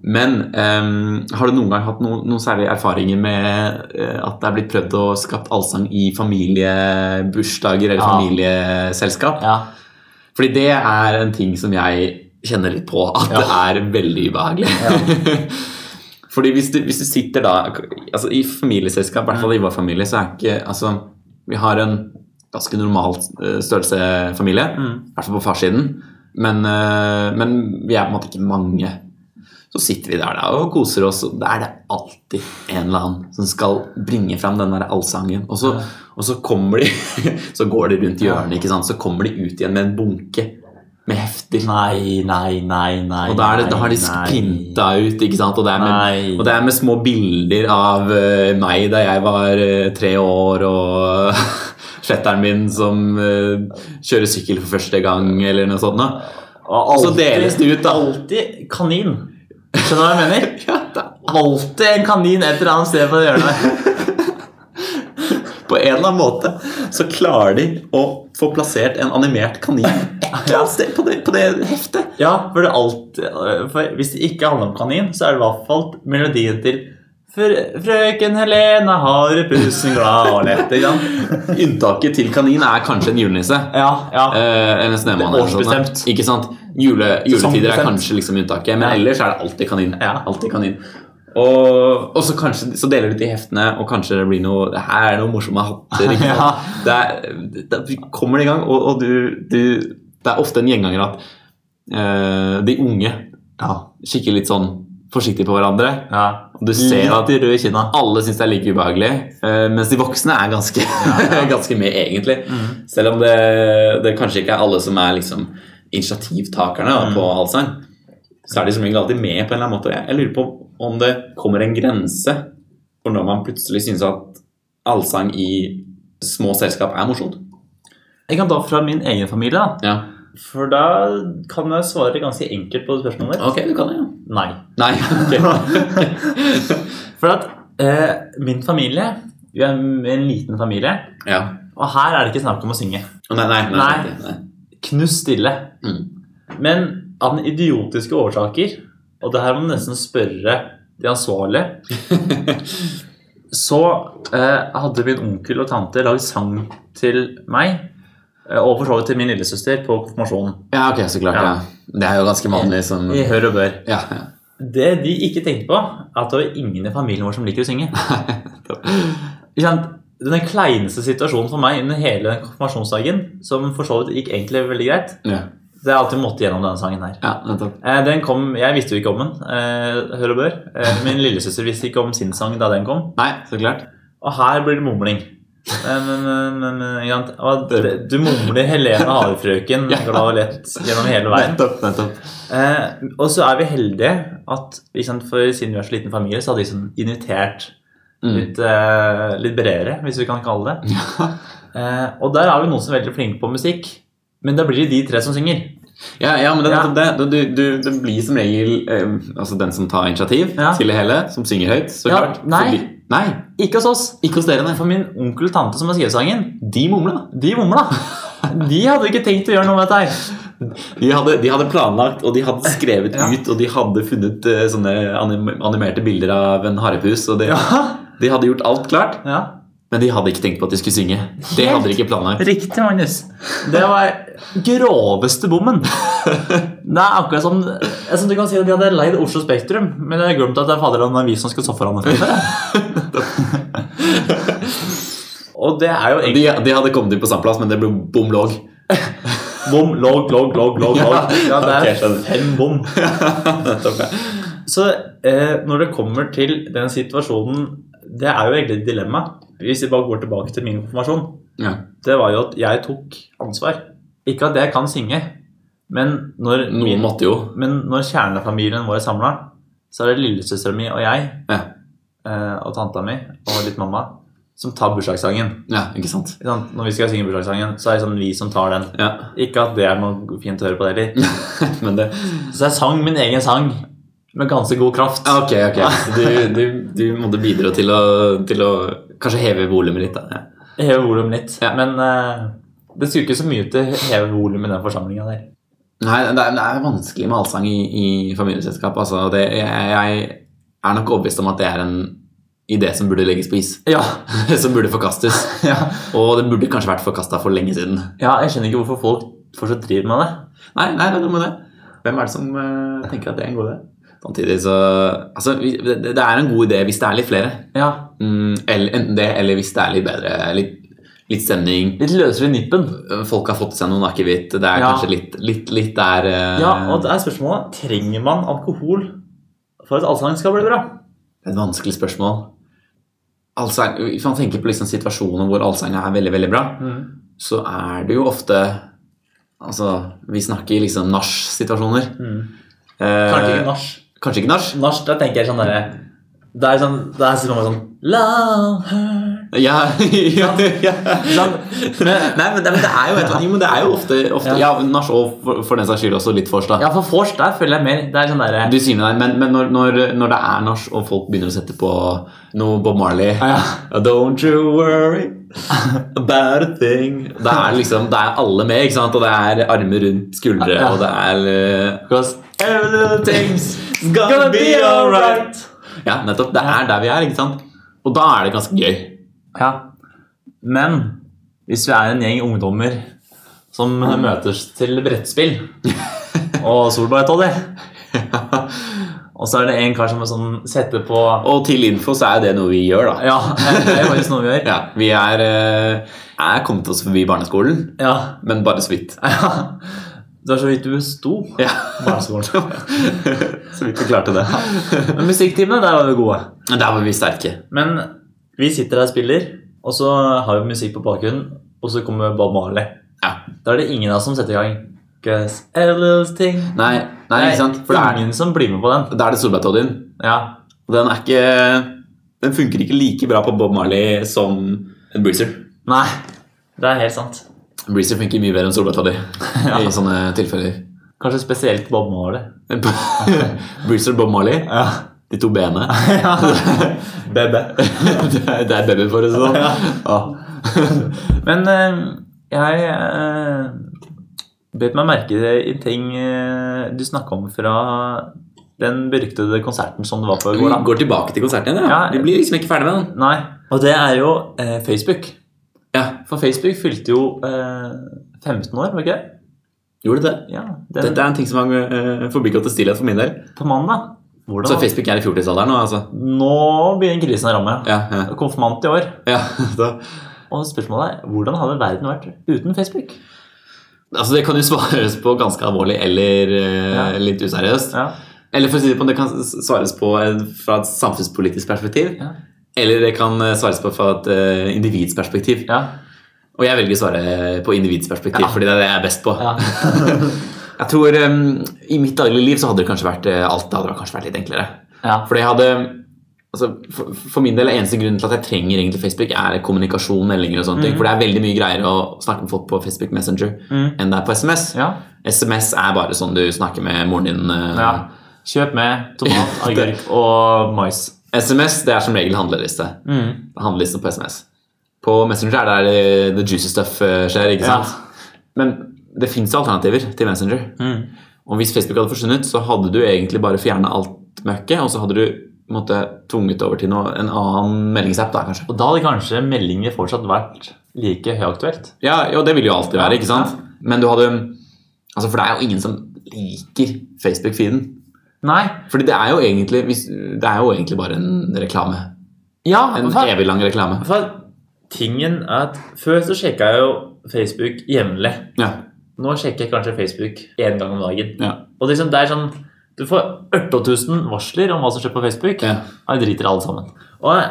S1: Men ehm, har du noen gang hatt no, noen særlige erfaringer med eh, at det er blitt prøvd å skapt allsang i familiebursdager eller
S2: Ja.
S1: familieselskap?
S2: ja.
S1: Fordi det er en ting som jeg kjenner litt på at det er veldig ubehagelig. Fordi hvis du, hvis du sitter da altså I familieselskap, i hvert fall i vår familie, så er ikke altså, Vi har en ganske normal eh, størrelse familie.
S2: Mm.
S1: I hvert fall på farssiden. Men, eh, men vi er på en måte ikke mange. Så sitter vi der da og koser oss. og Det er det alltid en eller annen som skal bringe fram den der allsangen. Og så, og så kommer de Så går de rundt hjørnet, ikke sant? så kommer de ut igjen med en bunke med hefter.
S2: Nei, nei, nei, nei.
S1: Og da, er det, da har de
S2: nei, nei.
S1: printa ut, ikke sant? Og det er med,
S2: Nei.
S1: og det er med små bilder av eh, meg da jeg var eh, tre år, og fetteren min som eh, kjører sykkel for første gang, eller noe sånt. Da.
S2: Og
S1: så deles det ut, da.
S2: Alltid kanin. Skjønner du hva jeg mener?
S1: Ja, da.
S2: Alltid en kanin et eller annet sted på hjørnet.
S1: På en eller annen måte så klarer de å få plassert en animert kanin et eller annet sted på det, på det heftet.
S2: Ja, for, det er alltid, for Hvis det ikke handler om kanin, så er det i hvert fall melodien til «Frø- Frøken Helena har pussen glad og lett. Ikke sant?
S1: Unntaket til kanin er kanskje en julenisse.
S2: Ja, ja.
S1: Eh, eller en snømann.
S2: Det er
S1: eller noe sånt.
S2: årsbestemt.
S1: Ikke sant? Jule, juletider er
S2: Sesongbestemt.
S1: kanskje liksom unntaket, men
S2: Ja.
S1: ellers er det alltid kanin.
S2: Ja.
S1: Alltid kanin. Og, og så kanskje så deler de ut i heftene, og kanskje det blir noe Det her er noen morsomme hatter. Ikke sant?
S2: Ja.
S1: det er, da kommer det i gang, og, og du, du Det er ofte en gjenganger at eh, de unge
S2: ja.
S1: kikker litt sånn forsiktig på hverandre.
S2: ja.
S1: Og du ser at
S2: Litt rød i kinna.
S1: alle syns det er like ubehagelig, eh, mens de voksne er ganske, ganske med, egentlig.
S2: Mhm.
S1: Selv om det, det kanskje ikke er alle som er liksom initiativtakerne da, på allsang, så er de som regel alltid med på en eller annen måte. Og Jeg, jeg lurer på om det kommer en grense for når man plutselig syns at allsang i små selskap er morsomt.
S2: Jeg kan ta fra min egen familie, da.
S1: Ja.
S2: For da kan jeg svare ganske enkelt på spørsmålet ditt.
S1: Ok, du kan det, ja.
S2: Nei.
S1: Nei, ok.
S2: For at eh, min familie Vi er en liten familie,
S1: ja.
S2: og her er det ikke snakk om å synge.
S1: Å, Nei, nei, nei.
S2: Nei.
S1: nei. nei.
S2: Knust stille.
S1: Mm.
S2: Men av den idiotiske årsaker, og det her må du nesten spørre de ansvarlige Så eh, hadde min onkel og tante lagd sang til meg, eh, og for så vidt til min lillesøster, på konfirmasjonen.
S1: Ja, ok, så klart.
S2: Ja.
S1: Ja. Det er jo ganske vanlig som
S2: I hør og bør.
S1: ja, ja.
S2: Det de ikke tenkte på, er at det var ingen i familien vår som liker å synge. Ikke sant? Den kleineste situasjonen for meg under hele den konfirmasjonsdagen, som for så vidt gikk egentlig veldig greit,
S1: ja.
S2: det er alltid måtte gjennom denne sangen her.
S1: ja nettopp.
S2: Eh, Den kom, Jeg visste jo ikke om den, eh, hør og bør. Eh, Min lillesøster visste ikke om sin sang da den kom.
S1: Nei, så klart.
S2: Og her blir det mumling. Eh, Men, men, men, men, ikke sant? Og det- Du mumler Helene Harefrøken glad og lett gjennom hele veien.
S1: Nettopp, nettopp.
S2: Eh, og så er vi heldige at ikke sant, for siden vi er så liten familie, så hadde de sånn invitert
S1: Mm.
S2: litt, eh, litt bredere, hvis vi kan kalle det. Eh, og der er vi noen som er veldig flinke på musikk, men da blir det de tre som synger.
S1: Ja, ja, men det, er
S2: Ja.
S1: nettopp det, du, du, det blir som regel eh, altså den som tar initiativ
S2: Ja.
S1: til det hele, som synger høyt. så
S2: Ja,
S1: klart. Så
S2: nei.
S1: blir- nei,
S2: Ikke hos oss.
S1: ikke hos dere, nei.
S2: For min onkel og tante som har skrevet sangen,
S1: De mumla.
S2: de mumla. De hadde ikke tenkt å gjøre noe med dette her.
S1: De hadde, de hadde planlagt, og de hadde skrevet
S2: Ja.
S1: ut, og de hadde funnet eh, sånne anim animerte bilder av en harepus. Og det, De hadde gjort alt klart,
S2: Ja.
S1: men de hadde ikke tenkt på at de skulle synge. Det hadde de ikke planlagt.
S2: Riktig, Magnus. Det var groveste bommen. Det er akkurat som jeg synes Du kan si at de hadde leid Oslo Spektrum, men jeg har glemt at det er Faderland Avis som skal stå foran. det. Og det er jo egentlig
S1: De, de hadde kommet inn på samme plass, men det ble bom låg.
S2: Bom, logg, logg, logg, logg. logg. Ja, det
S1: ok,
S2: er
S1: skjønner.
S2: fem bom. Så eh, når det kommer til den situasjonen Det er jo egentlig et dilemma. Hvis vi bare går tilbake til min konfirmasjon.
S1: Ja.
S2: Det var jo at jeg tok ansvar. Ikke at jeg kan synge, men når,
S1: Noen måtte jo.
S2: men når kjernefamilien vår er samla, så er det lillesøstera mi og jeg
S1: Ja.
S2: eh, og tanta mi og litt mamma som tar bursdagssangen.
S1: ja, ikke sant?
S2: Ikke sant? Når vi skal synge bursdagssangen, så er det sånn vi som tar den.
S1: Ja.
S2: Ikke at det er noe fint å høre på det heller.
S1: Men det
S2: Så jeg sang min egen sang med ganske god kraft.
S1: Ja, Ah, Ok, ok. Så Du, du, du måtte bidra til å, til å kanskje heve volumet litt. Da. Ja.
S2: Jeg Heve volumet litt.
S1: Ja.
S2: Men eh, det skulle ikke så mye til å heve volumet i den forsamlinga der.
S1: Nei, det er, det er vanskelig med allsang i, i familieselskap. Altså, det, jeg, jeg er nok overbevist om at det er en idé som burde legges på is.
S2: Ja,
S1: Som burde forkastes.
S2: ja.
S1: Og det burde kanskje vært forkasta for lenge siden.
S2: jeg skjønner ikke hvorfor folk fortsatt driver med det.
S1: Nei, nei, det er noe med det. Hvem er det som eh, tenker at det er en god idé? Samtidig så Altså, vi- det, det er en god idé hvis det er litt flere.
S2: Ja,
S1: Mm, eller, enten det, eller hvis det er litt bedre. Litt, litt stemning.
S2: Litt løsere i nippen.
S1: Folk har fått seg noen akevitt. Det er
S2: Ja.
S1: kanskje litt, litt, litt der eh,
S2: Ja, og det er spørsmålet Trenger man alkohol for at allsangen skal bli bra?
S1: Et vanskelig spørsmål. Alzheimer, hvis man tenker på liksom situasjoner hvor Alzheimer er veldig, veldig bra,
S2: Mm.
S1: så er det jo ofte Altså, vi snakker liksom nach-situasjoner. Eh,
S2: Mm. Kanskje ikke nach.
S1: Kanskje ikke nach?
S2: Nach, da tenker jeg sånn derre Det er sånn Det er sånn, sånn Love her
S1: Ja, ja, ja.
S2: Sånn. Men-
S1: Nei, men det, men det er jo et Jo, men det er jo ofte, ofte Ja,
S2: Ja.
S1: nach og for, for den saks skyld også litt vors, da.
S2: Ja, for vors, der føler jeg mer Det er sånn derre
S1: Du sier nei, men, men når, når, når det er nach, og folk begynner å sette på noe Bob Marley
S2: ja.
S1: Uh, Don't you worry about a thing Det er liksom, det er alle med, ikke sant? Og det er armer rundt skuldre,
S2: Ja.
S1: og det er eh, 'Cause everything's
S2: Gonna be alright.
S1: Ja, nettopp. Det er der vi er, ikke sant? Og da er det ganske gøy.
S2: Ja. Men hvis vi er en gjeng ungdommer som møtes til brettspill og Solberg Toddy Og så er det en kar som er sånn, setter på
S1: Og til info så er jo det noe vi gjør, da.
S2: Ja, det er jo faktisk noe vi gjør.
S1: Ja, vi er, eh, er kommet oss forbi barneskolen,
S2: Ja.
S1: men bare så vidt.
S2: ja. Det var så vidt du besto
S1: Ja.
S2: barneskolen.
S1: så vidt vi klarte det.
S2: Men musikktimene, der var vi gode.
S1: Men der var vi sterke.
S2: Men vi sitter her og spiller, og så har vi musikk på bakgrunnen, og så kommer Bob Marley.
S1: Ja.
S2: Da er det ingen av oss som setter i gang. 'Cause everything
S1: Nei, nei, ikke sant? For da er,
S2: ingen som blir med på den.
S1: da er det Solbergtoddyen.
S2: Ja.
S1: Og den er ikke Den funker ikke like bra på Bob Marley som en Breezer.
S2: Nei, det er helt sant.
S1: En Breezer funker mye bedre enn Solbergtoddy
S2: Ja.
S1: i sånne tilfeller.
S2: Kanskje spesielt Bob Marley.
S1: Breezer og Bob Marley,
S2: Ja.
S1: de to b-ene.
S2: Bebe.
S1: det er- det er baby, for å si det sånn. Ja.
S2: Men eh, jeg uh, bet meg merke det i ting eh, du snakka om fra den beryktede konserten som det var på i
S1: Vi
S2: går. da.
S1: går tilbake til konserten igjen.
S2: Ja.
S1: Ja. Vi blir liksom ikke ferdig med den.
S2: Nei, og det er jo eh, Facebook.
S1: Ja,
S2: For Facebook fylte jo eh, 15 år, var det ikke det?
S1: Gjorde det det?
S2: Ja, den,
S1: Dette er en ting som har eh, forbigått i stillhet for min del.
S2: på mandag. Hvordan?
S1: Så Facebook er i fjortisalderen nå, altså?
S2: Nå begynner krisen å ramme.
S1: Ja. ja,
S2: Konfirmant i år.
S1: ja. Da-
S2: Og spørsmålet er, hvordan hadde verden vært uten Facebook?
S1: Altså Det kan jo svares på ganske alvorlig eller eh,
S2: Ja.
S1: litt useriøst.
S2: Ja,
S1: Eller for å si det på, det kan s- svares på en- fra et samfunnspolitisk perspektiv.
S2: Ja.
S1: Eller det kan eh, svares på fra et eh, individs perspektiv.
S2: ja,
S1: Og jeg velger å svare eh, på individs perspektiv,
S2: Ja.
S1: fordi det er det jeg er best på.
S2: ja.
S1: Jeg tror eh, I mitt daglige liv så hadde det kanskje vært eh, alt det hadde kanskje vært litt enklere.
S2: ja.
S1: Fordi jeg hadde altså, for, for min del, eneste grunnen til at jeg trenger egentlig Facebook, er kommunikasjon, meldinger og sånne ting. For det er veldig mye greier å snakke med folk på Facebook Messenger
S2: Mm.
S1: enn det er på SMS.
S2: ja.
S1: SMS er bare sånn du snakker med moren din. eh,
S2: ja. Kjøp med tomat, agurk og mais.
S1: SMS det er som regel handleliste.
S2: Mm.
S1: Handleliste på SMS. På Messenger er det der eh, the juicy stuff eh, skjer, ikke
S2: Ja.
S1: sant? Men det fins alternativer til Messenger.
S2: Mm.
S1: Og hvis Facebook hadde forsvunnet, så hadde du egentlig bare fjerna alt møkket, og så hadde du måtte, tvunget over til noe, en annen meldingsapp, da, kanskje.
S2: Og da hadde kanskje meldinger fortsatt vært like høyaktuelt.
S1: Ja, jo, det vil jo alltid være, ikke sant? Men du hadde Altså, for det er jo ingen som liker Facebook-feeden.
S2: Nei.
S1: Fordi det er jo egentlig hvis- Det er jo egentlig bare en reklame.
S2: Ja,
S1: En
S2: for,
S1: evig lang reklame.
S2: for tingen er at før så sjekka jeg jo Facebook jevnlig.
S1: Ja.
S2: Nå sjekker jeg kanskje Facebook én gang om dagen.
S1: Ja.
S2: Og liksom det er sånn Du får 8000 varsler om hva som skjer på Facebook.
S1: Ja.
S2: Og jeg driter i alle sammen. Og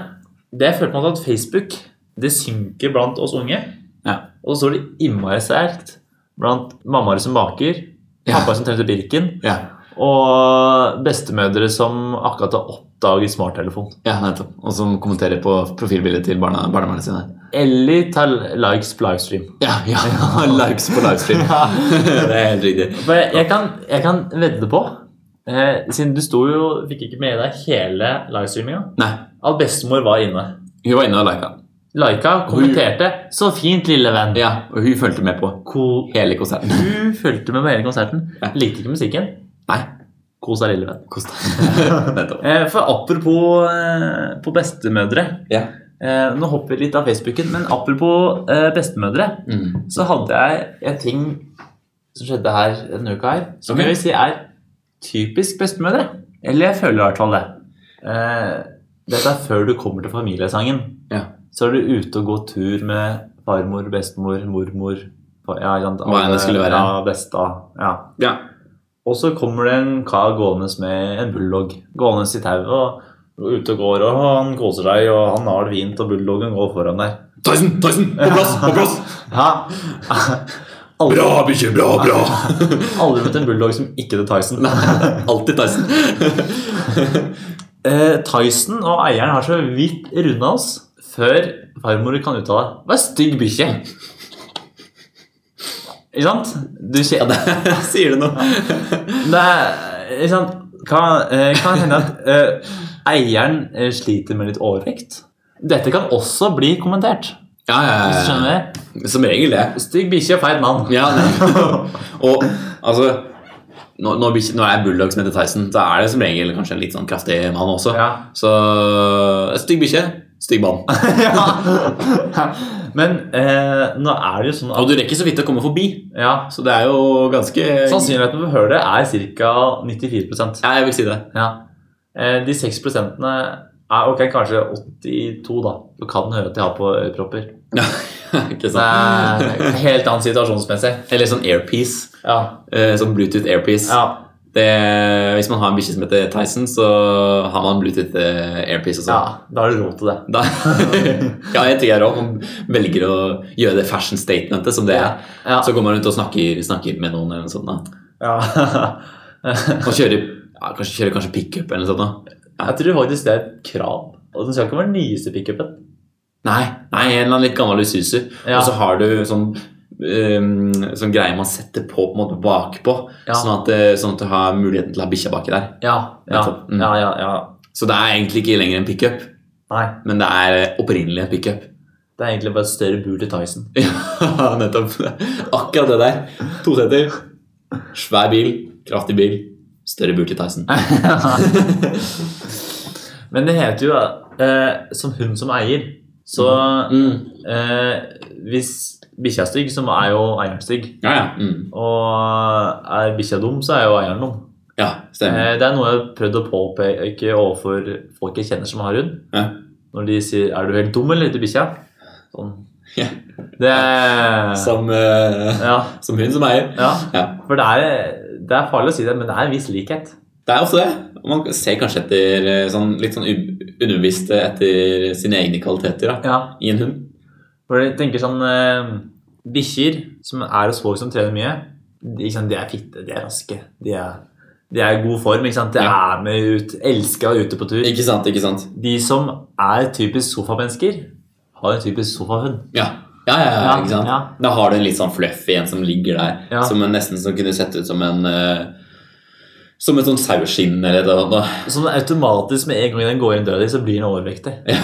S2: det jeg følte meg at Facebook det synker blant oss unge.
S1: Ja.
S2: Og så står det innmari sterkt blant mammaer som baker,
S1: Ja.
S2: pappaer som tømte Birken,
S1: ja.
S2: og bestemødre som akkurat har oppdaget smarttelefon.
S1: ja nettopp. Og som kommenterer på profilbildet til barna, barnebarna sine.
S2: Eller tar likes på livestream.
S1: Ja, ja, ja. Likes på livestream. det er helt riktig.
S2: For jeg, jeg, kan, jeg kan vedde på, eh, siden du sto jo fikk ikke med deg hele livestreaminga,
S1: Nei.
S2: at bestemor var inne.
S1: Hun var inne og lika.
S2: Laika kommenterte 'Så fint, lille venn'.
S1: Ja, og hun fulgte med på
S2: Ko
S1: hele konserten.
S2: Hun fulgte med på hele konserten.
S1: Ja.
S2: Likte ikke musikken.
S1: Nei.
S2: Kos deg, lille venn.
S1: Kos deg. Nettopp.
S2: Eh, For apropos eh, på bestemødre
S1: Ja.
S2: eh, Nå hopper vi litt av Facebooken, men apropos eh, bestemødre,
S1: Mm.
S2: så hadde jeg en ting som skjedde her denne uka her, som
S1: Ok.
S2: jeg vil si er typisk bestemødre. Eller jeg føler i hvert fall det. Eh, Dette er før du kommer til familiesangen.
S1: Ja.
S2: Så er du ute og går tur med farmor, bestemor, mormor fa- ja, ikke sant,
S1: Hva enn det skulle være.
S2: Ja, besta, ja.
S1: ja.
S2: Og så kommer det en kar gående med en bulldog gående i tauet. Og ute og går, og han koser seg, og han har det fint, og bulldoggen går foran der.
S1: Tyson! Tyson! På plass! På plass!
S2: Ja. Aldri,
S1: Bra, bikkje! Bra, bra!
S2: aldri møtt en bulldog som ikke heter Tyson.
S1: Alltid Tyson.
S2: Eh, Tyson og eieren har så vidt runda oss før farmor kan uttale 'Hva er stygg bikkje?' Ikke sant? Du kje-
S1: Ja, det sier du noe.
S2: det er, ikke sant? Kan, eh, kan hende at eh, eieren eh, sliter med litt overvekt. Dette kan også bli kommentert.
S1: Ja,
S2: Hvis du
S1: ja, ja.
S2: skjønner det?
S1: Som regel det.
S2: Stygg bikkje og feit mann.
S1: Ja, og altså når, når, bikkje- når det er bulldog som heter Tyson, så er det som regel kanskje en litt sånn kraftig mann også.
S2: Ja.
S1: Så eh, stygg bikkje, stygg mann.
S2: Ja. Men eh, nå er det jo sånn at
S1: Og du rekker så vidt å komme forbi,
S2: ja,
S1: så det er jo ganske
S2: Sannsynligheten for å høre det er ca. 94
S1: Ja, jeg vil si det.
S2: Ja. Eh, De 6 er ok, kanskje 82, da. Du kan høre at de har på ørepropper.
S1: Ja, Ikke
S2: Det
S1: sant?
S2: er helt annen situasjonsmessig.
S1: Eller sånn airpiece.
S2: Ja.
S1: Eh, sånn Bluetooth airpiece.
S2: ja.
S1: Det, hvis man har en bikkje som heter Tyson, så har man Bluetooth eh, airpiece og
S2: ja.
S1: sånn.
S2: Da har du råd til det.
S1: Da, ja, jeg tror jeg også, man velger å gjøre det fashion statementet som det er.
S2: Ja.
S1: Så går man rundt og snakker, snakker med noen eller noe sånt. da.
S2: ja.
S1: Og kjører, ja, kanskje, kjører kanskje pickup eller noe sånt. da.
S2: Jeg tror faktisk det er et krav. Og den skal ikke være den nyeste pickupen.
S1: Nei, nei, en eller annen litt gammel Isuzu.
S2: Ja.
S1: Og så har du sånn ehm, sånn greie man setter på på en måte bakpå,
S2: Ja.
S1: sånn, at, eh, sånn at du har muligheten til å ha bikkja baki der.
S2: Ja. Ja.
S1: Nettopp. Mm.
S2: ja, ja, ja.
S1: Så det er egentlig ikke lenger en pickup,
S2: Nei.
S1: men det er eh, opprinnelig en pickup.
S2: Det er egentlig bare et større bur til Tyson.
S1: Ja, nettopp. Akkurat det der. To seter. Svær bil, kraftig bil, større bur til Tyson.
S2: Men det heter jo eh, som hun som eier. Så
S1: Mm.
S2: eh, hvis bikkja er stygg, så er jo eieren stygg.
S1: Ja, ja. Mm.
S2: Og er bikkja dum, så er jo eieren dum.
S1: Ja, stemmer.
S2: Eh, Det er noe jeg har prøvd å påpeke overfor folk jeg kjenner som har hund.
S1: Ja.
S2: Når de sier 'er du helt dum, eller?' til bikkja. Sånn.
S1: Ja.
S2: Det er
S1: Som, eh,
S2: ja,
S1: som hun som eier.
S2: ja.
S1: Ja.
S2: For det er, det er farlig å si det, men det er en viss likhet.
S1: Det er ofte det. Og man ser kanskje etter eh, sånn, litt sånn u- underbevisst eh, etter sine egne kvaliteter da,
S2: Ja.
S1: i en hund.
S2: For jeg tenker sånn eh, Bikkjer som er hos folk som trener mye, de, ikke sant, de er fitte, de er raske. De er, de er i god form. ikke sant? De
S1: Ja.
S2: er med ut, elsker å være ute på tur.
S1: Ikke sant? ikke sant?
S2: De som er typisk sofa-mennesker, har en typisk sofahund.
S1: Ja, ja, ja, ja
S2: Ja,
S1: ikke sant?
S2: ja.
S1: Da har du en litt sånn fluffy en som ligger der,
S2: Ja.
S1: som en nesten som kunne sett ut som en eh, som et sånn saueskinn eller noe. noe.
S2: Som automatisk med en gang den går inn døra di, så blir den overvektig.
S1: Ja.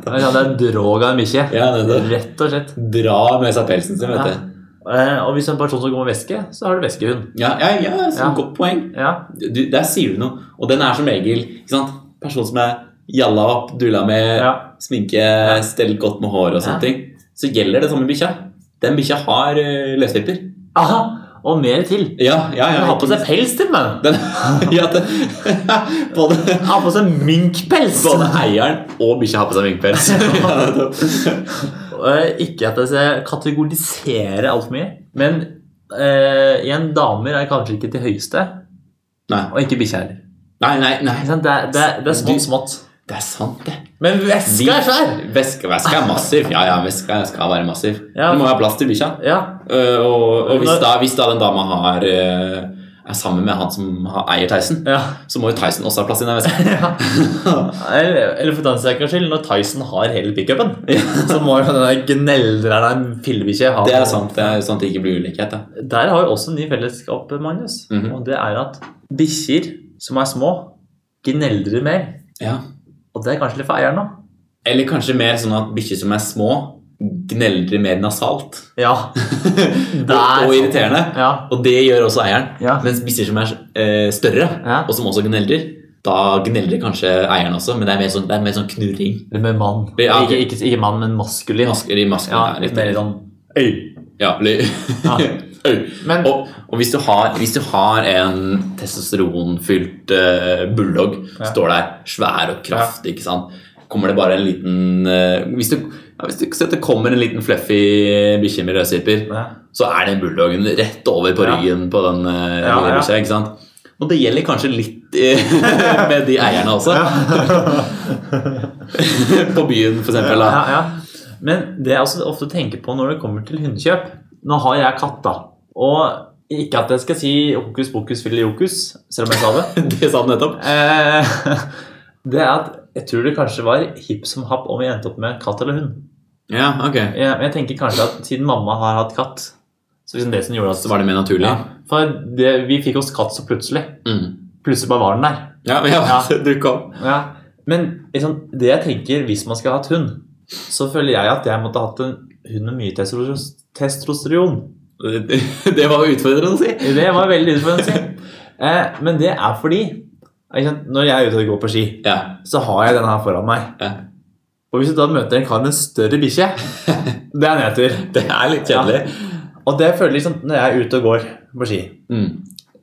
S2: Det er en drog av en bikkje.
S1: ja, nettopp.
S2: Rett og slett.
S1: Dra med seg pelsen sin, vet
S2: Ja.
S1: du.
S2: Eh, og hvis du er en person som går med væske, så har du væskehund.
S1: Ja, ja, ja, så
S2: Ja.
S1: godt poeng.
S2: Ja.
S1: Du, der sier du noe. Og den er som regel ikke sant? person som er jalla opp, dulla med
S2: Ja.
S1: sminke, stelt godt med hår og sånne
S2: Ja.
S1: ting. Så gjelder det samme bikkja. Den bikkja har uh, løsvipper.
S2: Aha, og mer til.
S1: Ja, ja, ja.
S2: Den har på seg pels til meg.
S1: den, ja, den, både,
S2: Den har på seg minkpels.
S1: både eieren og bikkja har på seg vinkpels.
S2: Eh, Ikke at jeg skal kategorisere altfor mye, men eh, igjen, damer er kanskje ikke til høyeste,
S1: nei,
S2: og ikke bikkje heller.
S1: nei, nei, nei.
S2: Ikke sant? Det, er- det, er- det er
S1: Du-
S2: smått, smått.
S1: Det er sant, det.
S2: Men væska er svær!
S1: Veska, veska er massiv. Ja, ja, veska skal være massiv.
S2: Ja.
S1: Du må ha plass til bikkja.
S2: Ja.
S1: Eh, og og hvis,
S2: Når-
S1: da, hvis da den dama har, eh, er sammen med han som har, eier Tyson,
S2: ja.
S1: så må jo Tyson også ha plass i den veska.
S2: Eller, eller for den saks skyld, når Tyson har hele pickupen, så må jo den gneldreren av en fillebikkje ha
S1: Det er sant, det er sånn at det ikke blir ulikhet. Da.
S2: Der har vi også en ny fellesskap, Magnus.
S1: Mhm.
S2: Og det er at bikkjer som er små, gneldrer mer.
S1: Ja.
S2: Og det er kanskje litt for eieren òg.
S1: Eller kanskje mer sånn at bikkjer som er små, gneldrer mer nasalt.
S2: Ja.
S1: Og, og irriterende.
S2: Ja.
S1: Og det gjør også eieren.
S2: Ja.
S1: Mens bikkjer som er eh, større,
S2: Ja.
S1: og som også gneldrer, da gneldrer kanskje eieren også, men det er mer sånn, det er mer sånn knurring.
S2: Eller med mann.
S1: Ja, ok.
S2: ikke, ikke, ikke mann, men maskulin.
S1: Masker i masken.
S2: Ja,
S1: er
S2: litt
S1: litt-
S2: mer sånn øy.
S1: Ja, ly.
S2: Ja.
S1: Au.
S2: Men
S1: Og, og hvis, du har, hvis du har en testosteronfylt eh, bulldog,
S2: Ja.
S1: står der svær og kraftig, ikke sant? Kommer det bare en liten eh, Hvis du, ja, hvis du ser at det kommer en liten fluffy bikkje med rødstriper,
S2: ja.
S1: så er den bulldoggen rett over på
S2: Ja.
S1: ryggen på den eh,
S2: Ja,
S1: lille
S2: ja.
S1: bikkja, ikke sant? Og det gjelder kanskje litt eh, med de eierne også. På byen, for eksempel. Da.
S2: Ja, ja. Men det jeg også ofte tenker på når det kommer til hundekjøp Nå har jeg katt, da. Og ikke at jeg skal si hokus pokus fille jokus, selv om jeg sa det.
S1: Det sa du nettopp.
S2: Eh, det er at jeg tror det kanskje var hipp som happ om vi endte opp med katt eller hund.
S1: Ja, ok.
S2: Jeg, jeg tenker kanskje at siden mamma har hatt katt Så liksom det som gjorde at
S1: Så var det mer naturlig.
S2: ja, For det, vi fikk oss katt så plutselig.
S1: Mm.
S2: Plutselig bare var den der.
S1: Ja, ja,
S2: Ja.
S1: du kom.
S2: Ja, men liksom, det jeg tenker hvis man skal ha hatt hund, så føler jeg at jeg måtte ha hatt en hund med mye testosteron. testosteron.
S1: Det det var jo utfordrende å si.
S2: Det var veldig utfordrende å si. Eh, men det er fordi ikke sant, når jeg er ute og går på ski,
S1: Ja.
S2: så har jeg denne her foran meg.
S1: Ja.
S2: Og hvis du da møter en kar med en større bikkje, det er nedtur.
S1: Det er litt kjedelig.
S2: Og det føler jeg liksom når jeg er ute og går på ski
S1: Mm.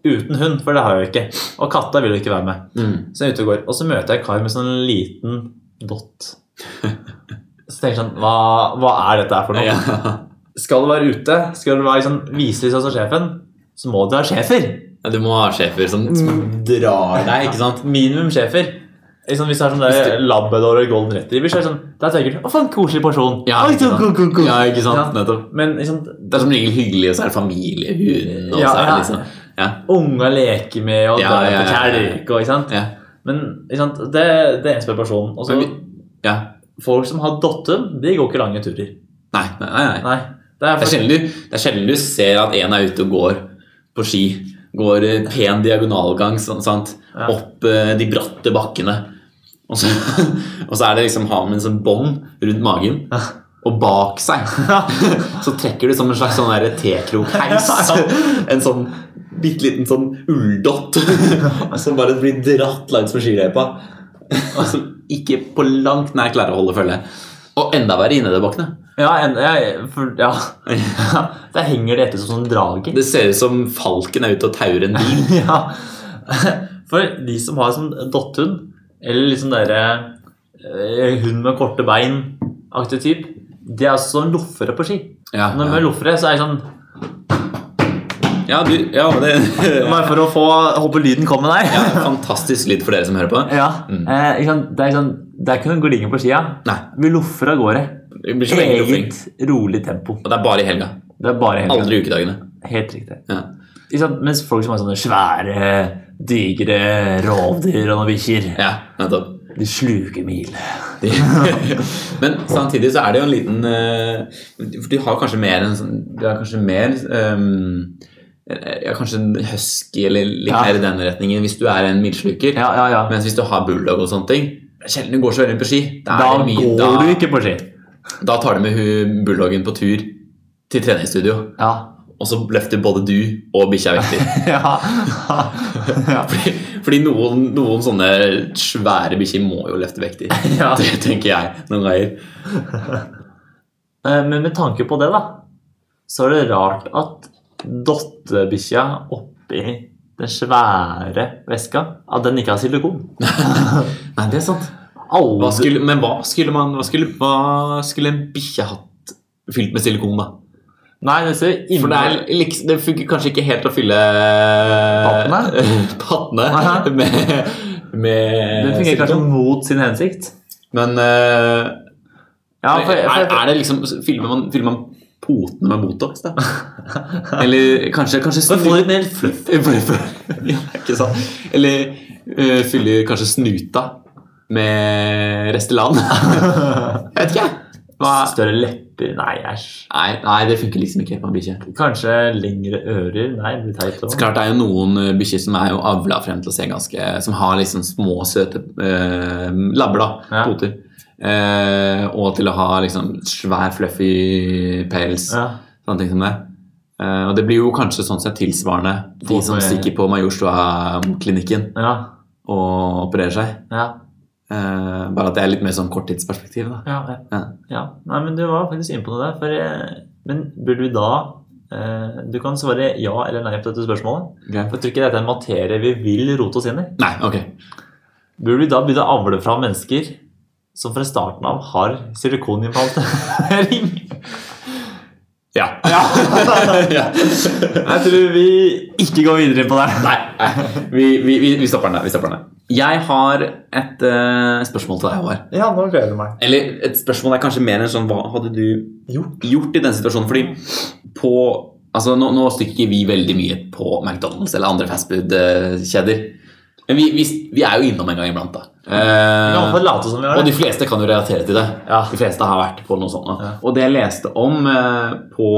S2: uten hund, for det har jeg jo ikke. Og katta vil jo ikke være med.
S1: Mm.
S2: Så jeg er ute og går, og så møter jeg en kar med sånn liten dott. Så tenker jeg sånn Hva, hva er dette her for noe?
S1: Ja.
S2: Skal du være ute, skal du være liksom, vise litt sånn som sjefen, så må du ha sjefer.
S1: Ja, Du må ha sjefer som,
S2: Mm.
S1: som drar deg, ikke sant?
S2: Minimum sjefer. Liksom, hvis det er sånn
S1: Hvis
S2: der labrador og golden retriever, så er det sånn Da tenker du Å, for en koselig person.
S1: Ja,
S2: Oi,
S1: ikke sant?
S2: go, go, go.
S1: Ja, ikke sant?
S2: Ja.
S1: Nettopp.
S2: Men liksom,
S1: Det er som regel hyggelig, og så er det familiehund, og
S2: Ja,
S1: så er det
S2: ja.
S1: liksom Ja.
S2: unga leker med, og
S1: Ja,
S2: drar
S1: ja,
S2: på
S1: ja, ja.
S2: kjelk, og ikke sant.
S1: ja.
S2: Men ikke sant? det, det er eneste personen. Og så
S1: Men vi- ja.
S2: folk som har dotter, de går ikke lange turer.
S1: Nei, nei, nei. nei.
S2: Nei. Det er
S1: Det er,
S2: for...
S1: sjelden du, det er sjelden du ser at en er ute og går på ski. Går eh, pen diagonalgang sånn, sant?
S2: Ja.
S1: opp eh, de bratte bakkene. Og så, og så er det liksom har man en sånn bånd rundt magen. Og bak seg så trekker du som en slags sånn der tekrokheis. En sånn bitte liten sånn ulldott som bare blir dratt langs med skiløypa. Og Som ikke på langt nær klarer å holde følge. Og enda verre i nedoverbakkene.
S2: Ja, en, jeg, for, ja. Der henger det etter som sånn drager.
S1: Det ser ut som Falken er ute og tauer en bil.
S2: Ja. For de som har sånn dotthund, eller liksom dere eh, hund med korte bein-aktig typ, de er også sånn loffere på ski.
S1: Ja,
S2: Når de er loffere, så er det sånn
S1: ja, du, ja det
S2: Bare for å få håpe lyden kommer der.
S1: ja, Mm. Fantastisk lyd for dere som hører på.
S2: Ja. Eh, ikke sant? Det er ikke sånn, det er ikke noen gliding på skia.
S1: Nei,
S2: Vi loffer av gårde.
S1: det blir så veldig loffing.
S2: Eget, rolig tempo.
S1: Og det er bare i helga.
S2: Det er bare helt,
S1: Aldri i ukedagene.
S2: helt riktig.
S1: Ja.
S2: Ikke sant? Mens folk som har sånne svære, digre rovdyr og noen bikkjer,
S1: ja, nettopp.
S2: de sluker mil.
S1: De- Men samtidig så er det jo en liten eh, For de har kanskje mer en sånn De har kanskje mer ehm, ja, Kanskje en husky eller litt
S2: Ja.
S1: mer i den retningen hvis du er en mildsluker.
S2: Ja, ja, ja.
S1: Mens hvis du har bulldog og sånne ting det er Sjelden du går så veldig på ski. Da,
S2: da
S1: er det mye,
S2: går
S1: da,
S2: du ikke på ski.
S1: da tar du med hu- bulldoggen på tur til treningsstudio.
S2: Ja.
S1: Og så løfter både du og bikkja vekter.
S2: ja. ja.
S1: Fordi, fordi noen, noen sånne svære bikkjer må jo løfte vekter.
S2: Ja.
S1: Det tenker jeg noen ganger.
S2: Eh, Men med tanke på det, da, så er det rart at dottebikkja oppi den svære veska, at den ikke har silikon.
S1: Nei, det er sant. Hva
S2: Alle
S1: skulle, men hva skulle man Hva skulle, hva skulle en bikkje hatt fylt med silikon, da?
S2: Nei, det ser
S1: For det, er, liksom, det funker kanskje ikke helt å fylle
S2: Pattene? Aha.
S1: pattene med, med
S2: Den fungerer kanskje mot sin hensikt.
S1: Men eh,
S2: Ja, for,
S1: er,
S2: for,
S1: er det liksom Fyller man, fyller man potene med Botox, da? Eller kanskje, kanskje
S2: for å få litt mer fluff.
S1: ja, ikke sant? Eller eh, fyller kanskje snuta med Restellan? jeg vet ikke. jeg. Hva?
S2: Større lepper Nei, æsj.
S1: Nei, nei, det funker liksom ikke helt på en bikkje.
S2: Kanskje lengre ører? Nei, det blir teit
S1: Så
S2: òg.
S1: klart det er jo noen eh, bikkjer som er jo avla frem til å se ganske Som har liksom små, søte eh, labber, da.
S2: Ja.
S1: Poter. Eh, og til å ha liksom svær, fluffy pels.
S2: Ja.
S1: Sånne ting som det. Eh, og det blir jo kanskje sånn sett tilsvarende de som stikker på Majorstua-klinikken
S2: Ja.
S1: og opererer seg.
S2: Ja.
S1: Eh, bare at det er litt mer sånn korttidsperspektiv, da.
S2: Ja, ja.
S1: Ja.
S2: ja. Nei, men du var faktisk inne på noe der. For, eh, men burde du da eh, Du kan svare ja eller nei på dette spørsmålet.
S1: Ok.
S2: For jeg tror ikke dette er en materie vi vil rote oss inn i.
S1: Nei, ok.
S2: Burde vi da begynne å avle fram mennesker som fra starten av har silikonimplanter?
S1: Ja. ja.
S2: Jeg tror vi ikke går videre på det.
S1: Nei, nei. Vi, vi, vi- vi stopper den der. Vi stopper den der. Jeg har et eh, spørsmål til deg, Håvard.
S2: Ja, nå gleder jeg meg.
S1: Eller et spørsmål er kanskje mer enn sånn Hva hadde du
S2: Gjort.
S1: gjort i den situasjonen? Fordi på Altså, nå, nå stikker ikke vi veldig mye på McDonald's eller andre fastfood-kjeder. Men vi, vi, vi er jo innom en gang iblant, da.
S2: Vi
S1: Eh,
S2: kan i hvert fall late som vi
S1: og
S2: har
S1: de
S2: det.
S1: fleste kan jo relatere til det.
S2: Ja.
S1: De fleste har vært på noe sånt. nå.
S2: Ja.
S1: Og det jeg leste om eh, på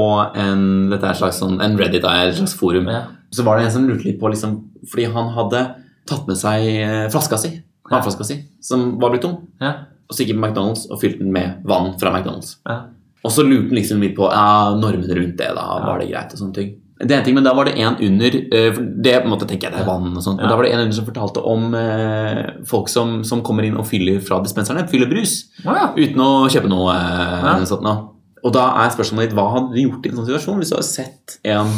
S1: en, dette er et slags sånn, en Reddit er et slags forum,
S2: Ja.
S1: så var det en som lurte litt på liksom, Fordi han hadde tatt med seg eh, flaska si, vannflaska si, som var blitt tom,
S2: Ja.
S1: og stikket på McDonald's og fylte den med vann fra McDonald's.
S2: Ja.
S1: Og så lurte han liksom litt på ja, normene rundt det, da, var det greit og sånne ting. Det er en ting, men Da var det en under eh, for Det på en måte tenker jeg det er vann og sånt, men
S2: Ja.
S1: da var det en under som fortalte om eh, folk som, som kommer inn og fyller fra dispenserne. Fyller brus.
S2: Å ja.
S1: Uten å kjøpe noe. eh,
S2: Ja.
S1: eller noe sånt nå. Og da er spørsmålet ditt hva hadde du gjort i en sånn situasjon hvis du hadde sett en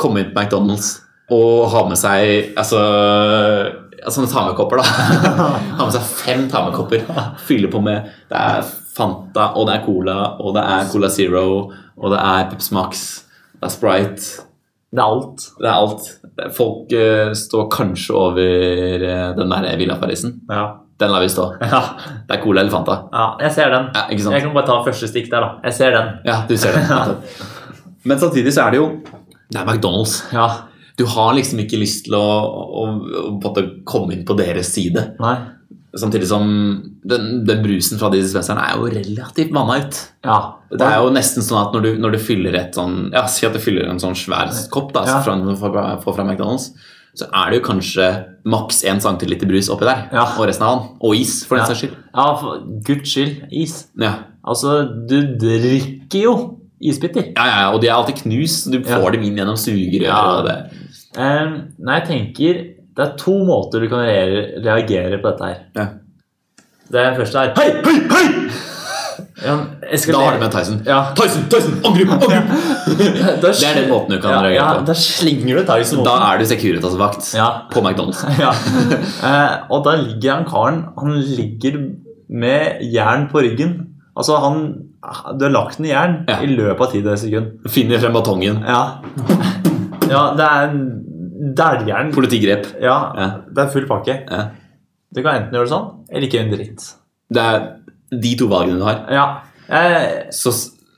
S1: komme inn på McDonald's og ha med seg altså, ja, sånne tamekopper, da. ha med seg fem tamekopper. Fylle på med Det er Fanta, og det er Cola, og det er Cola Zero, og det er Peps Max, det er Sprite.
S2: Det er alt.
S1: Det er alt. Folk eh, står kanskje over eh, den der Villa Parisen.
S2: Ja.
S1: Den lar vi stå.
S2: ja.
S1: Det er Cola eller Fanta.
S2: Jeg ser den.
S1: Ja, ikke sant?
S2: Jeg kan bare ta første stikk der, da. Jeg ser den.
S1: Ja, du ser det. Men samtidig så er det jo Det er McDonald's.
S2: Ja.
S1: Du har liksom ikke lyst til å, å, å på en måte komme inn på deres side.
S2: Nei.
S1: Samtidig som den, den brusen fra de dispenserne er jo relativt vanna ut.
S2: Ja.
S1: Det er jo nesten sånn at når du, når du fyller et sånn Ja, si at du fyller en sånn svær kopp da,
S2: Ja.
S1: fra, fra, fra, fra McDonald's, så er det jo kanskje maks 1 centiliter brus oppi der.
S2: Ja.
S1: Og resten av den. Og is, for den
S2: Ja.
S1: saks skyld.
S2: Ja, for guds skyld. Is.
S1: Ja.
S2: Altså, du drikker jo isbiter.
S1: Ja, ja, ja, og de er alltid knust. Du
S2: Ja.
S1: får dem inn gjennom sugerør.
S2: Ja.
S1: og det.
S2: Eh, nei, jeg tenker Det er to måter du kan reagere, reagere på dette her.
S1: Ja.
S2: Det første er Hei, hei, hei! Ja, jeg skal
S1: Da har
S2: le-
S1: du med Tyson.
S2: Ja.
S1: Tyson, Tyson, angrip, angrip!
S2: Da
S1: Det er den måten du kan
S2: ja,
S1: reagere
S2: Ja,
S1: på.
S2: da slenger du Tyson
S1: Da
S2: mot
S1: er du Securitas-vakt
S2: Ja.
S1: på McDonald's.
S2: ja. Eh, og da ligger han karen Han ligger med jern på ryggen. Altså, han Du har lagt den i jern
S1: Ja.
S2: i løpet av ti sekunder.
S1: Finner frem batongen.
S2: Ja. ja, det er en dæljern.
S1: Politigrep.
S2: Ja,
S1: Ja.
S2: det er full pakke.
S1: Ja.
S2: Du kan enten gjøre det sånn, eller ikke gjøre en dritt.
S1: Det er de to valgene du har.
S2: Ja. Eh,
S1: Så,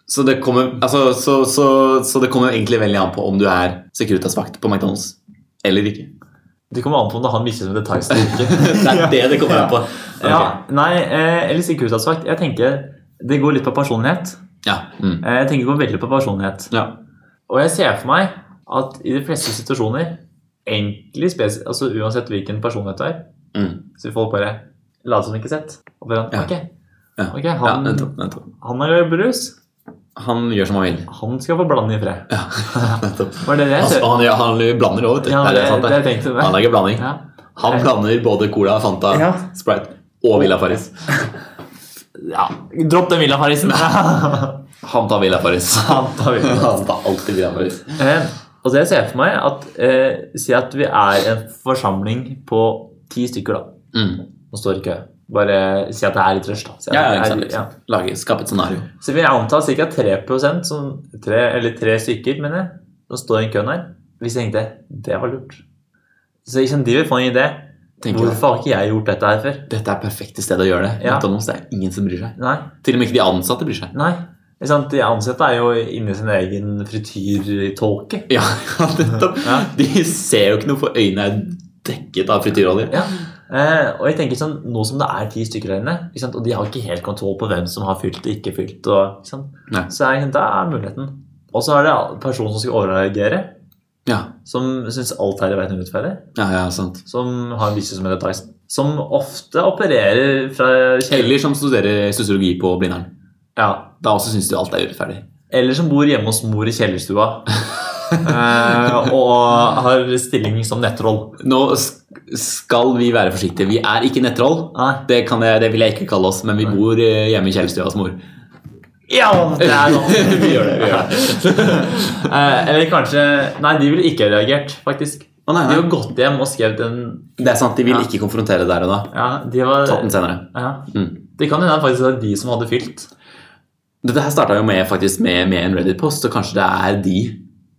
S1: så, det kommer, altså, så, så, så det kommer egentlig veldig an på om du er Securitas-vakt på McDonald's eller ikke.
S2: det kommer an på om det er han mistet med detaljs eller ikke.
S1: Det er det det kommer an på.
S2: ja,
S1: Ok.
S2: nei, eh, eller sikkerhetsvakt. Jeg tenker det går litt på personlighet.
S1: Ja. Mm.
S2: Eh, jeg tenker det går veldig på personlighet.
S1: ja.
S2: Og jeg ser for meg at i de fleste situasjoner, egentlig spes altså uansett hvilken personlighet du er,
S1: Mm.
S2: så vil folk bare late som de ikke har sett. Og bare, sånn,
S1: Ja.
S2: ok,
S1: Ja.
S2: ok,
S1: ja
S2: han,
S1: nettopp, nettopp.
S2: han har brus,
S1: Han gjør som han vil.
S2: han skal få blande i fred.
S1: Ja, nettopp.
S2: Var det det jeg
S1: Altså,
S2: ser?
S1: han, ja, han blander òg, vet du.
S2: Ja,
S1: Det er
S2: det,
S1: sant,
S2: det
S1: det.
S2: jeg tenkte
S1: Han lager blanding.
S2: Ja.
S1: Han blander både Cola, Fanta,
S2: Ja.
S1: Sprite og Villa Farris.
S2: Ja, dropp den Villa Farrisen.
S1: Han tar Villa Farris.
S2: Han tar Villa
S1: Han
S2: Farris.
S1: tar alltid Villa Farris.
S2: eh, og det jeg ser for meg, at eh, si at vi er en forsamling på ti stykker, da.
S1: Mm.
S2: Nå står i kø. Bare si at det er litt rush, da. Si at
S1: Ja, ja,
S2: det
S1: ikke
S2: er-
S1: sant. ikke sant. Lage, skape et scenario.
S2: ja. Så vi antar ca. 3 som tre, eller tre stykker, mener jeg, som står i den køen her. Hvis jeg tenkte det var lurt. Så liksom, de vil få en idé.
S1: Tenker jeg.
S2: Hvorfor har ikke jeg gjort dette her før?
S1: Dette er perfekte sted å gjøre det.
S2: Ja.
S1: McDonald's, det er ingen som bryr seg.
S2: Nei.
S1: Til og med ikke de ansatte bryr seg.
S2: nei. Ikke sant? De ansatte er jo inni sin egen frityrtåke.
S1: Ja, nettopp.
S2: Ja.
S1: De ser jo ikke noe, for øynene er dekket av frityrolje.
S2: Ja. Eh, og jeg tenker sånn, Nå som det er ti stykker der inne, ikke sant? og de har ikke helt kontroll på hvem som har fylt og ikke fylt, og, ikke sant?
S1: Nei.
S2: så jeg, da er muligheten. Og så er det personen som skal overreagere,
S1: Ja.
S2: som syns alt her i verden er urettferdig,
S1: ja, ja, sant.
S2: som har en visse som heter Tyson, som ofte opererer fra kjell-
S1: Eller som studerer sosiologi på Blindern.
S2: ja.
S1: Da også syns du alt er urettferdig.
S2: Eller som bor hjemme hos mor i kjellerstua. eh, og har stilling som nettroll.
S1: Nå sk- skal vi være forsiktige. Vi er ikke nettroll.
S2: Nei.
S1: Det, kan jeg, det vil jeg ikke kalle oss, men vi bor eh, hjemme i kjellerstua hos mor.
S2: Ja, det er sånn.
S1: vi gjør det. vi gjør det.
S2: Eh, eller kanskje Nei, de ville ikke reagert, faktisk.
S1: Å, nei,
S2: De
S1: nei.
S2: har gått hjem og skrevet en
S1: Det er sant, de vil
S2: Ja.
S1: ikke konfrontere der og da.
S2: Ja, de var
S1: Tatt den senere.
S2: ja.
S1: Mm.
S2: Det kan hende faktisk det er de som hadde fylt.
S1: Dette her starta jo med, faktisk med, med en Reddit-post, så kanskje det er de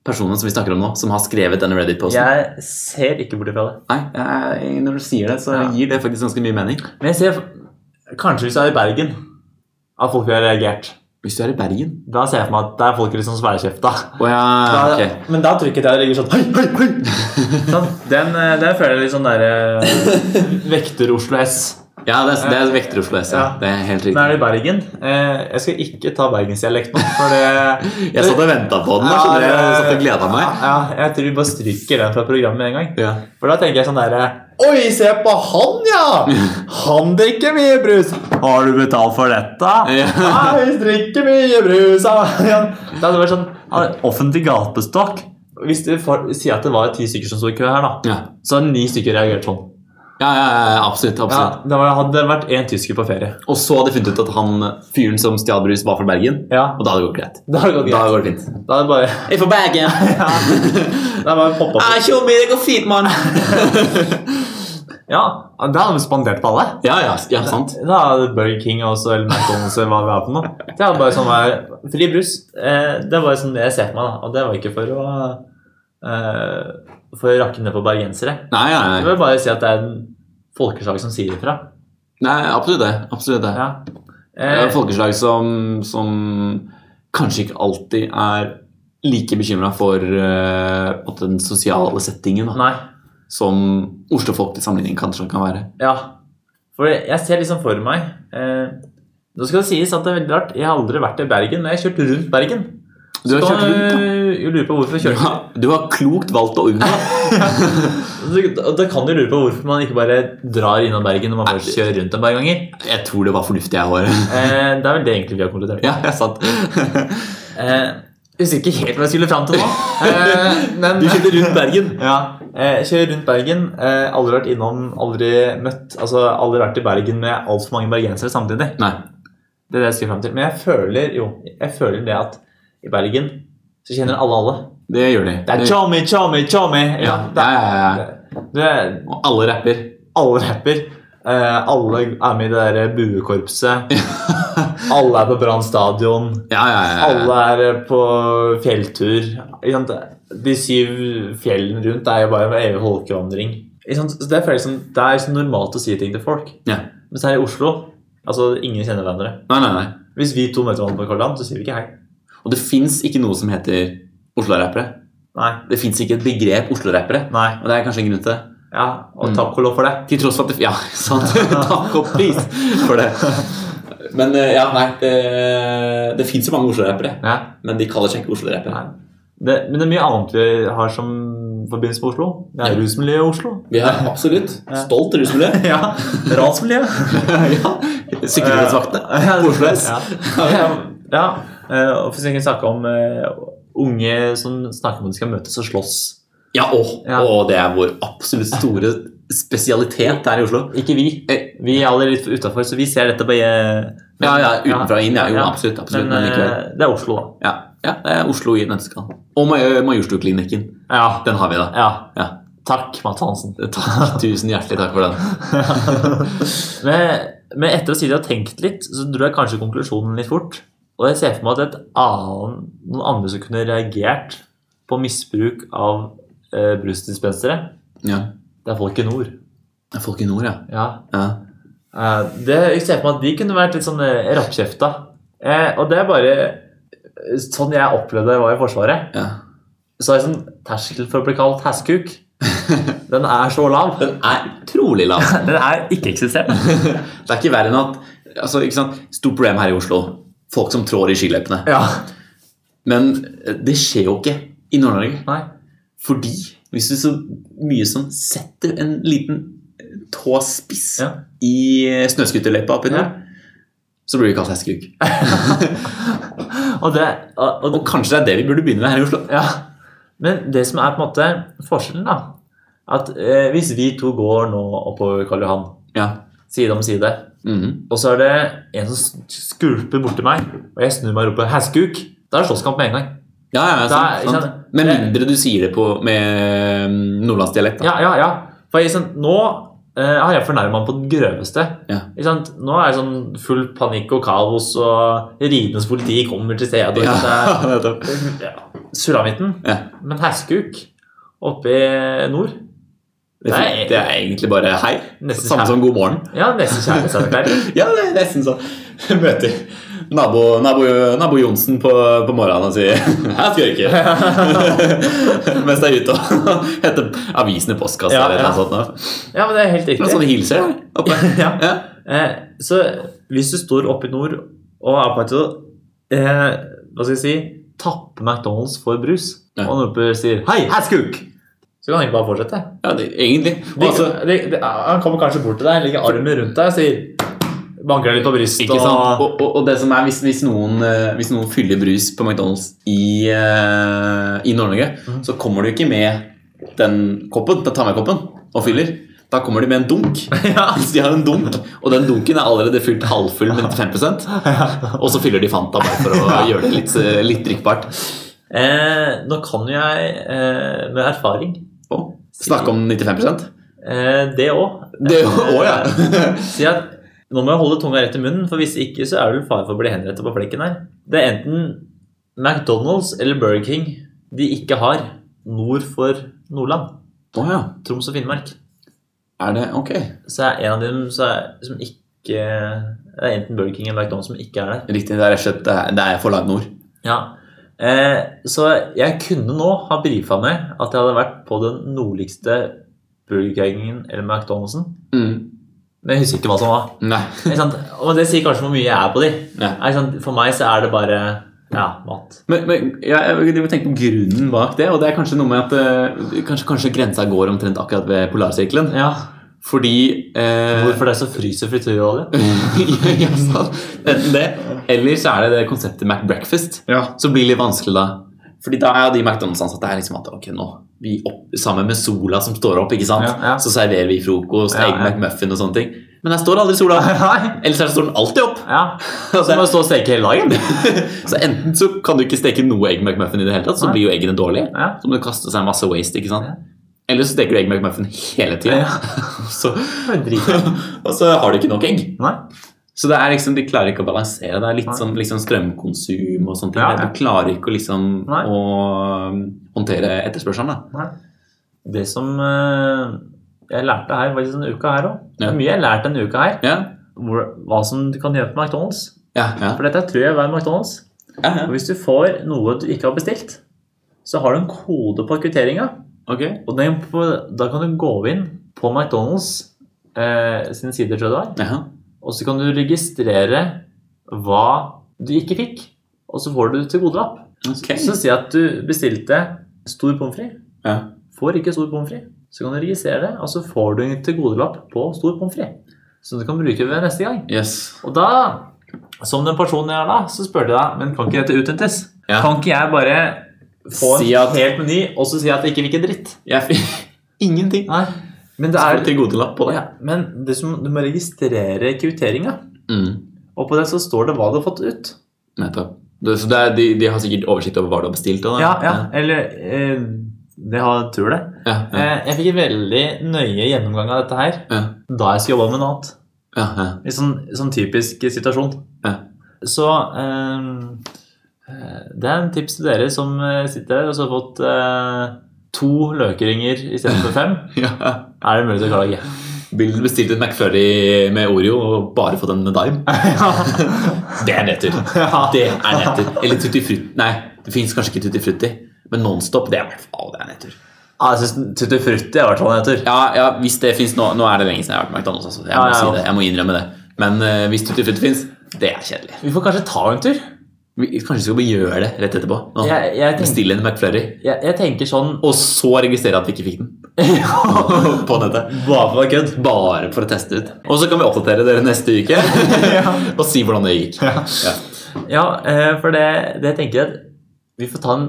S1: personene som vi snakker om nå, som har skrevet denne Reddit-posten.
S2: Jeg ser ikke bort ifra det.
S1: Nei, jeg, Når du sier det, så
S2: Ja.
S1: gir det faktisk ganske mye mening.
S2: Men jeg ser kanskje hvis jeg er i Bergen, at folk har reagert.
S1: Hvis du er i Bergen
S2: Da ser jeg for meg at der er folk liksom sværekjefta.
S1: Å ja,
S2: Da-
S1: ok.
S2: Men da tror jeg ikke jeg reagerer sånn Hei, hei, hei! Sånn, den, eh, den føler jeg litt sånn derre Vekter-Oslo S.
S1: Ja, det er, det er vekter Oslo S. Ja.
S2: Ja.
S1: Det er helt
S2: Nå
S1: riktig.
S2: er det i Bergen. Eh, jeg skal ikke ta bergensdialekt nå, for det
S1: Jeg satt og venta på den. da, skjønner du. Jeg satt og gleda meg.
S2: Ja, ja, jeg tror vi bare stryker den fra programmet med en gang.
S1: Ja.
S2: For da tenker jeg sånn derre Oi, se på han, ja! Han drikker mye brus. Har du betalt for dette?
S1: Ja.
S2: Nei, drikker mye brus. ja. Da hadde det vært sånn ja, Offentlig gapestokk. Hvis du får, sier at det var ti stykker som sto i kø her, da,
S1: Ja.
S2: så hadde ni stykker reagert sånn.
S1: Ja, ja, ja, absolutt.
S2: Ja,
S1: absolutt.
S2: det var, hadde det vært én tysker på ferie.
S1: Og så hadde jeg funnet ut at han fyren som stjal brus, var fra Bergen.
S2: Ja,
S1: Og da hadde det gått greit.
S2: Da hadde det gått
S1: Da
S2: greit.
S1: går det fint.
S2: Da hadde det bare,
S1: Jeg er fra Bergen. Ah,
S2: ja, da hadde det bare poppa opp.
S1: Tjommi, det går fint, mann.
S2: Ja, da hadde vi spandert på alle.
S1: Ja, ja, ja, sant.
S2: Da hadde Burger King også, eller McDonald's eller hva det var for noe. Det var bare sånn der, Fri brus. Eh, det var sånn det jeg ser på meg, da. Og det var ikke for å eh, For å rakke ned på bergensere.
S1: Nei, nei,
S2: Jeg
S1: nei.
S2: vil bare si at det er en folkeslag som sier ifra.
S1: nei absolutt det. Absolutt det.
S2: Ja.
S1: Det er et
S2: Eh,
S1: folkeslag som, som kanskje ikke alltid er like bekymra for eh, på en måte den sosiale settingen da,
S2: nei.
S1: som Oslo-folk til sammenligning kanskje kan være.
S2: Ja. For jeg ser liksom for meg eh, Nå skal det sies at det er veldig rart. Jeg har aldri vært i Bergen, men jeg har kjørt rundt Bergen.
S1: Du har
S2: Så eh,
S1: kjørt rundt, da.
S2: kan du lure på hvorfor
S1: Du
S2: kjørte
S1: har, du har klokt valgt å unngå.
S2: Du- Da da kan du lure på hvorfor man ikke bare drar innom Bergen når man først kjører rundt et par ganger.
S1: Jeg tror det var fornuftig, jeg, håret.
S2: Eh, det er vel det egentlig vi har konkludert.
S1: Ja, jeg satt.
S2: Eh, jeg husker ikke helt hva jeg skulle fram til nå. Eh, men
S1: Du kjørte rundt Bergen.
S2: ja, eh, kjører rundt Bergen. Eh, aldri vært innom, aldri møtt Altså aldri vært i Bergen med altfor mange bergensere samtidig.
S1: Nei.
S2: Det er det jeg skulle frem til. Men jeg føler jo Jeg føler det at i Bergen så kjenner alle alle.
S1: Det gjør de.
S2: Det er Tjommi, Tjommi, Tjommi!
S1: ja,
S2: det
S1: ja,
S2: er,
S1: ja, ja.
S2: det er,
S1: Og alle rapper.
S2: alle rapper. Eh, alle er med i det der buekorpset. alle er på Brann stadion.
S1: Ja, ja, ja. ja.
S2: Alle er eh, på fjelltur. Ikke sant? De syv fjellene rundt er jo bare en evig folkevandring. Ikke sant? Så Det, føles som, det er så normalt å si ting til folk.
S1: Ja.
S2: Mens her i Oslo altså ingen kjenner hverandre.
S1: Nei, nei, nei.
S2: Hvis vi to møter hverandre på Karl Johan, så sier vi ikke hei.
S1: Og det fins ikke noe som heter Oslo-rappere.
S2: Nei.
S1: Det fins ikke et begrep Oslo-rappere.
S2: Nei.
S1: Og det er kanskje en grunn til det.
S2: Ja, og
S1: Mm.
S2: takk og lov for det.
S1: Til tross for at det Ja, sant. Takk og pris for det. Men eh, ja, nei. Det, det fins jo mange Oslo-rappere.
S2: Ja.
S1: Men de kaller seg ikke Oslo-rappere.
S2: Nei. Det, men det er mye annet vi har som forbindelse med Oslo. Det
S1: Ja.
S2: er rusmiljøet i Oslo.
S1: Vi har absolutt stolt rusmiljø.
S2: Ja, Ransmiljøet.
S1: ja.
S2: Eh,
S1: Sikkerhetsvaktene. Oslo S.
S2: ja. ja. eh, Og for eksempel snakke om eh, unge som snakker om at de skal møtes og slåss.
S1: Ja, å,
S2: Ja.
S1: å, det er vår absolutt store spesialitet her i Oslo.
S2: Ikke vi. Eh, Vi er alle litt utafor, så vi ser dette bare eh,
S1: Ja, ja, utenfra og inn. Ja, jo, absolutt. absolutt
S2: Men
S1: men likevel.
S2: eh, det er Oslo, da.
S1: Ja, ja, det er Oslo i et nøtteskall. Og Maj- Majorstuklinikken.
S2: Ja.
S1: Den har vi, da.
S2: ja.
S1: Ja.
S2: Takk, Matt Hansen.
S1: Takk, tusen hjertelig takk for den.
S2: Men, men etter å si det og tenkt litt, så dro jeg kanskje konklusjonen litt fort. Og jeg ser for meg at et annen, noen andre som kunne reagert på misbruk av eh, brusdispensere,
S1: Ja.
S2: det er folk i nord.
S1: Det er Folk i nord, ja.
S2: Ja,
S1: ja.
S2: Eh, Det, jeg ser for meg at de kunne vært litt sånn eh, rappkjefta. Eh, og det er bare eh, sånn jeg opplevde det var i Forsvaret.
S1: ja.
S2: Så er det sånn terskel for å bli kalt hasskuk. Den er så lav.
S1: Den er utrolig lav.
S2: Den er ikke-eksisterende.
S1: Det er ikke verre enn at altså, ikke sant? Stort problem her i Oslo. Folk som trår i skiløpene.
S2: Ja.
S1: Men eh, det skjer jo ikke i Nord-Norge.
S2: Nei.
S1: Fordi hvis du så mye som setter en liten tåspiss
S2: Ja.
S1: i eh, snøskuterløypa oppi der,
S2: Ja.
S1: så blir vi kalt hestekuk.
S2: Og det, og,
S1: Og
S2: og,
S1: kanskje det er det vi burde begynne med her i Oslo.
S2: ja. Men det som er på en måte forskjellen, da At eh, hvis vi to går nå oppover Karl Johan,
S1: Ja.
S2: side om side,
S1: Mhm.
S2: og så er det en som skulper borti meg, og jeg snur meg og roper 'hasskuk', da er det slåsskamp med en gang.
S1: Ja, ja,
S2: Da,
S1: sant,
S2: ikke
S1: sant.
S2: sant?
S1: Med
S2: Det-
S1: mindre du sier det på, med mm, nordlandsdialekt. da.
S2: Ja, ja, ja. For jeg, sånn, nå eh, har jeg fornærma på det grøveste.
S1: Ja.
S2: Ikke sant? Nå er det sånn full panikk og kaos, og ridenes politi kommer til stedet. Og ja.
S1: nettopp.
S2: ja. Sulamitten.
S1: Ja.
S2: Men herskuk oppe i nord
S1: Det, er fint. det er egentlig bare hei.
S2: Nesten
S1: Samme
S2: kjære.
S1: som god morgen.
S2: Ja, nesten kjærlighetserklæring.
S1: Ja, det er nesten sånn. Møter nabo, nabo, nabo Johnsen på, på morgenen og sier 'Jeg skal røyke'. Mens det er ute og henter avisen i postkassa
S2: Ja,
S1: eller noe
S2: ja.
S1: sånt. da.
S2: Ja, men det er helt
S1: Det er sånn
S2: riktig.
S1: de hilser der oppe.
S2: Ja.
S1: Ja.
S2: Eh, så hvis du står oppe i nord og er på et sted eh, Hva skal jeg si Tappe McDonald's for brus,
S1: Ja.
S2: og nordpå sier 'Hei, herskuk!' Så kan han egentlig bare fortsette.
S1: Ja, det, egentlig. Og
S2: De,
S1: altså,
S2: de, de, han kommer kanskje bort til deg, legger armen rundt deg og sier Banker deg litt på brystet
S1: Ikke sant?
S2: og
S1: Og, og, og det som er, hvis, hvis, noen, eh, hvis noen fyller brus på McDonald's i, eh, i Nord-Norge,
S2: Mhm.
S1: så kommer du ikke med den koppen, den ta-med-koppen, og fyller. Da kommer de med en dunk.
S2: Ja.
S1: Så de har en dunk, og den dunken er allerede fylt halvfull med 5 Og så fyller de Fanta bare for å gjøre det litt, eh, litt drikkbart.
S2: eh, Nå kan jo jeg, eh, med erfaring
S1: Og Snakke om 95
S2: eh, Det òg.
S1: Det òg, ja.
S2: Si at nå må jeg holde tunga rett i munnen, for hvis ikke så er du i fare for å bli henrettet på flekken her. Det er enten McDonald's eller Burger King de ikke har nord for Nordland,
S1: Å ja.
S2: Troms og Finnmark.
S1: Er det ok?
S2: Så er en av dem så er, som ikke Det er enten Burger King eller McDonald's som ikke er der.
S1: Riktig. Det er rett og slett det er- det er for langt nord.
S2: Ja. Eh, så jeg kunne nå ha brifa med at jeg hadde vært på den nordligste Burger Kingen eller McDonald'sen, men jeg husker ikke hva som var.
S1: Nei.
S2: Ikke sant? Og det sier kanskje hvor mye jeg er på de.
S1: Ja.
S2: Ikke sant? For meg så er det bare ja, mat.
S1: Men, men jeg, jeg driver og tenker på grunnen bak det, og det er kanskje noe med at eh, kanskje, kanskje grensa går omtrent akkurat ved polarsirkelen.
S2: Ja.
S1: Fordi eh,
S2: Hvorfor det er så fryser frityrolje?
S1: Ja, sant. Enten det, eller så er det det konseptet McBreakfast
S2: Ja.
S1: som blir litt vanskelig da. Fordi da er jo de McDonald's-ansatte er liksom at ok, nå vi opp, Sammen med sola som står opp, ikke sant?
S2: Ja, ja.
S1: så serverer vi frokost,
S2: Ja,
S1: egg
S2: ja.
S1: McMuffin og sånne ting. Men der står aldri sola. Ellers så står den alltid opp.
S2: ja. Og så må jeg stå og steke hele dagen.
S1: Så enten så kan du ikke steke noe egg McMuffin i det hele tatt, så
S2: Nei.
S1: blir jo eggene dårlige.
S2: Ja.
S1: Så må du kaste seg en masse waste, ikke sant?
S2: Ja.
S1: Eller så steker du egg McMuffin hele tiden.
S2: Ja.
S1: Så,
S2: Drit.
S1: og så har du ikke nok egg.
S2: Nei.
S1: Så det er liksom, de klarer ikke å balansere. Det er litt
S2: Nei.
S1: sånn liksom strømkonsum og sånne ting.
S2: Ja, ja.
S1: Du klarer ikke å liksom
S2: Nei.
S1: å um, håndtere etterspørselen, da.
S2: Nei. Det som eh, jeg lærte her, var litt sånn uka her òg. Det
S1: Ja.
S2: er mye jeg har lært denne uka her.
S1: Ja,
S2: Hvor, hva som du kan gjøre på McDonald's.
S1: ja, ja.
S2: For dette tror jeg er McDonald's.
S1: ja, ja.
S2: Og hvis du får noe du ikke har bestilt, så har du en kode på kvitteringa.
S1: Ok.
S2: Og den på, da kan du gå inn på McDonald's eh, sine sider, tror jeg det var,
S1: Ja.
S2: og så kan du registrere hva du ikke fikk, og så får du til godelapp.
S1: ok.
S2: Så si at du bestilte stor pommes frites,
S1: Ja.
S2: får ikke stor pommes frites, så kan du registrere det, og så får du en til godelapp på stor pommes frites, som du kan bruke ved neste gang.
S1: Yes.
S2: Og da, som den personen jeg er da, så spør du deg, men kan ikke dette utnyttes?
S1: Ja.
S2: Kan ikke jeg bare få en
S1: Si at-
S2: helt meny, og så si at jeg ikke fikk en dritt?
S1: Jeg fikk ingenting.
S2: Nei. Men det
S1: Er
S2: er
S1: det til godelapp på det?
S2: ja, men det som, du må registrere kvitteringa.
S1: Mm.
S2: Og på det så står det hva du har fått ut.
S1: Nettopp. Det, så det er, de, de har sikkert oversikt over hva du har bestilt? og da.
S2: Ja, ja, Eller eh, Det har tror det.
S1: Ja, ja,
S2: Eh, jeg fikk en veldig nøye gjennomgang av dette her
S1: ja,
S2: da jeg skulle jobbe med noe annet.
S1: ja, ja.
S2: I sånn, sånn typisk situasjon.
S1: Ja.
S2: Så eh, eh, Det er en tips til dere som eh, sitter her og så har fått eh, to løkringer istedenfor fem.
S1: ja.
S2: Er det mulig å klage?
S1: Bill bestilte en McFlurry med Oreo og bare fått en med dime. Det er nedtur. Det er nedtur. Eller Tutti Frutti. Nei, det fins kanskje ikke Tutti Frutti, men Nonstop det er, å, det er nedtur.
S2: Ja, jeg syns Tutti Frutti er i hvert fall en tur.
S1: Ja, ja, hvis det fins nå Nå er det lenge siden jeg har vært på McDonald's. Altså. Jeg, må
S2: Ja, ja, ja.
S1: Si det. jeg må innrømme det. Men eh, hvis Tutti Frutti fins, det er kjedelig.
S2: Vi får kanskje ta en tur.
S1: Vi, kanskje vi skal bare gjøre det rett etterpå. Nå,
S2: Jeg, jeg, tenker,
S1: Bestille en McFlurry,
S2: jeg, jeg tenker sånn
S1: og så registrere at vi ikke fikk den. på nettet.
S2: Bare for kødd.
S1: Bare for å teste ut. Og så kan vi oppdatere dere neste uke og si hvordan det gikk. Ja.
S2: Ja, eh, for det, det tenker jeg at vi får ta en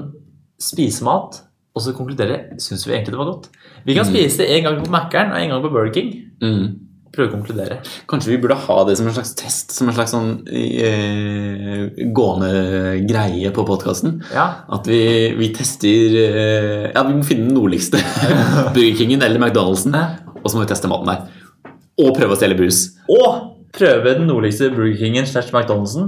S2: spisemat, og så konkludere syns vi egentlig det var godt. Vi kan
S1: Mm.
S2: spise en gang på Mækkern og en gang på Burger King.
S1: Mm.
S2: Prøve å konkludere.
S1: Kanskje vi burde ha det som en slags test, som en slags sånn eh, gående greie på podkasten.
S2: Ja,
S1: At vi, vi tester eh, Ja, vi må finne den nordligste Burger Kingen eller McDonald'sen,
S2: Ja.
S1: og så må vi teste maten der. og prøve å stjele brus.
S2: Og prøve den nordligste Burger Kingen slash McDonald'sen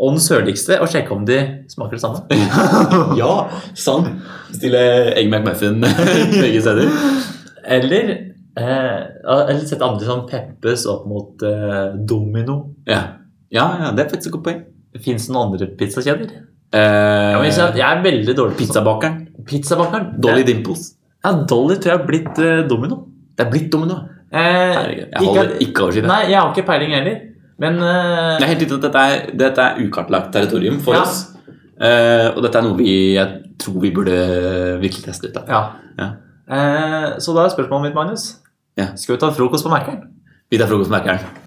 S2: og den sørligste og sjekke om de smaker det samme.
S1: Ja, sant.
S2: Sånn.
S1: Stille egg McMuffin begge steder.
S2: Eller, eh, eller sette andre som Peppes opp mot eh, Domino.
S1: Ja. Ja, ja, det er faktisk et godt poeng.
S2: Fins det noen andre pizzakjeder?
S1: Eh,
S2: Ja, men jeg kjenner at jeg er veldig dårlig på sånn- sånt.
S1: Pizzabakeren.
S2: Pizzabakeren.
S1: Dolly
S2: Det-
S1: Eh, Dimples.
S2: Ja, Dolly tror jeg har blitt eh, Domino.
S1: Det er blitt domino.
S2: Eh,
S1: Herregud, Jeg holder
S2: ikke-
S1: ikke oversikt.
S2: Nei, jeg har ikke peiling heller. Men eh,
S1: Det er helt riktig at dette er, dette er ukartlagt territorium for
S2: Ja.
S1: oss. Eh, og dette er noe vi, jeg tror vi burde virkelig teste ut. Da.
S2: ja.
S1: Ja.
S2: Eh, så da er spørsmålet mitt, Magnus.
S1: Ja.
S2: Skal vi ta frokost på Mækkern?
S1: Vi tar frokostmerkeren.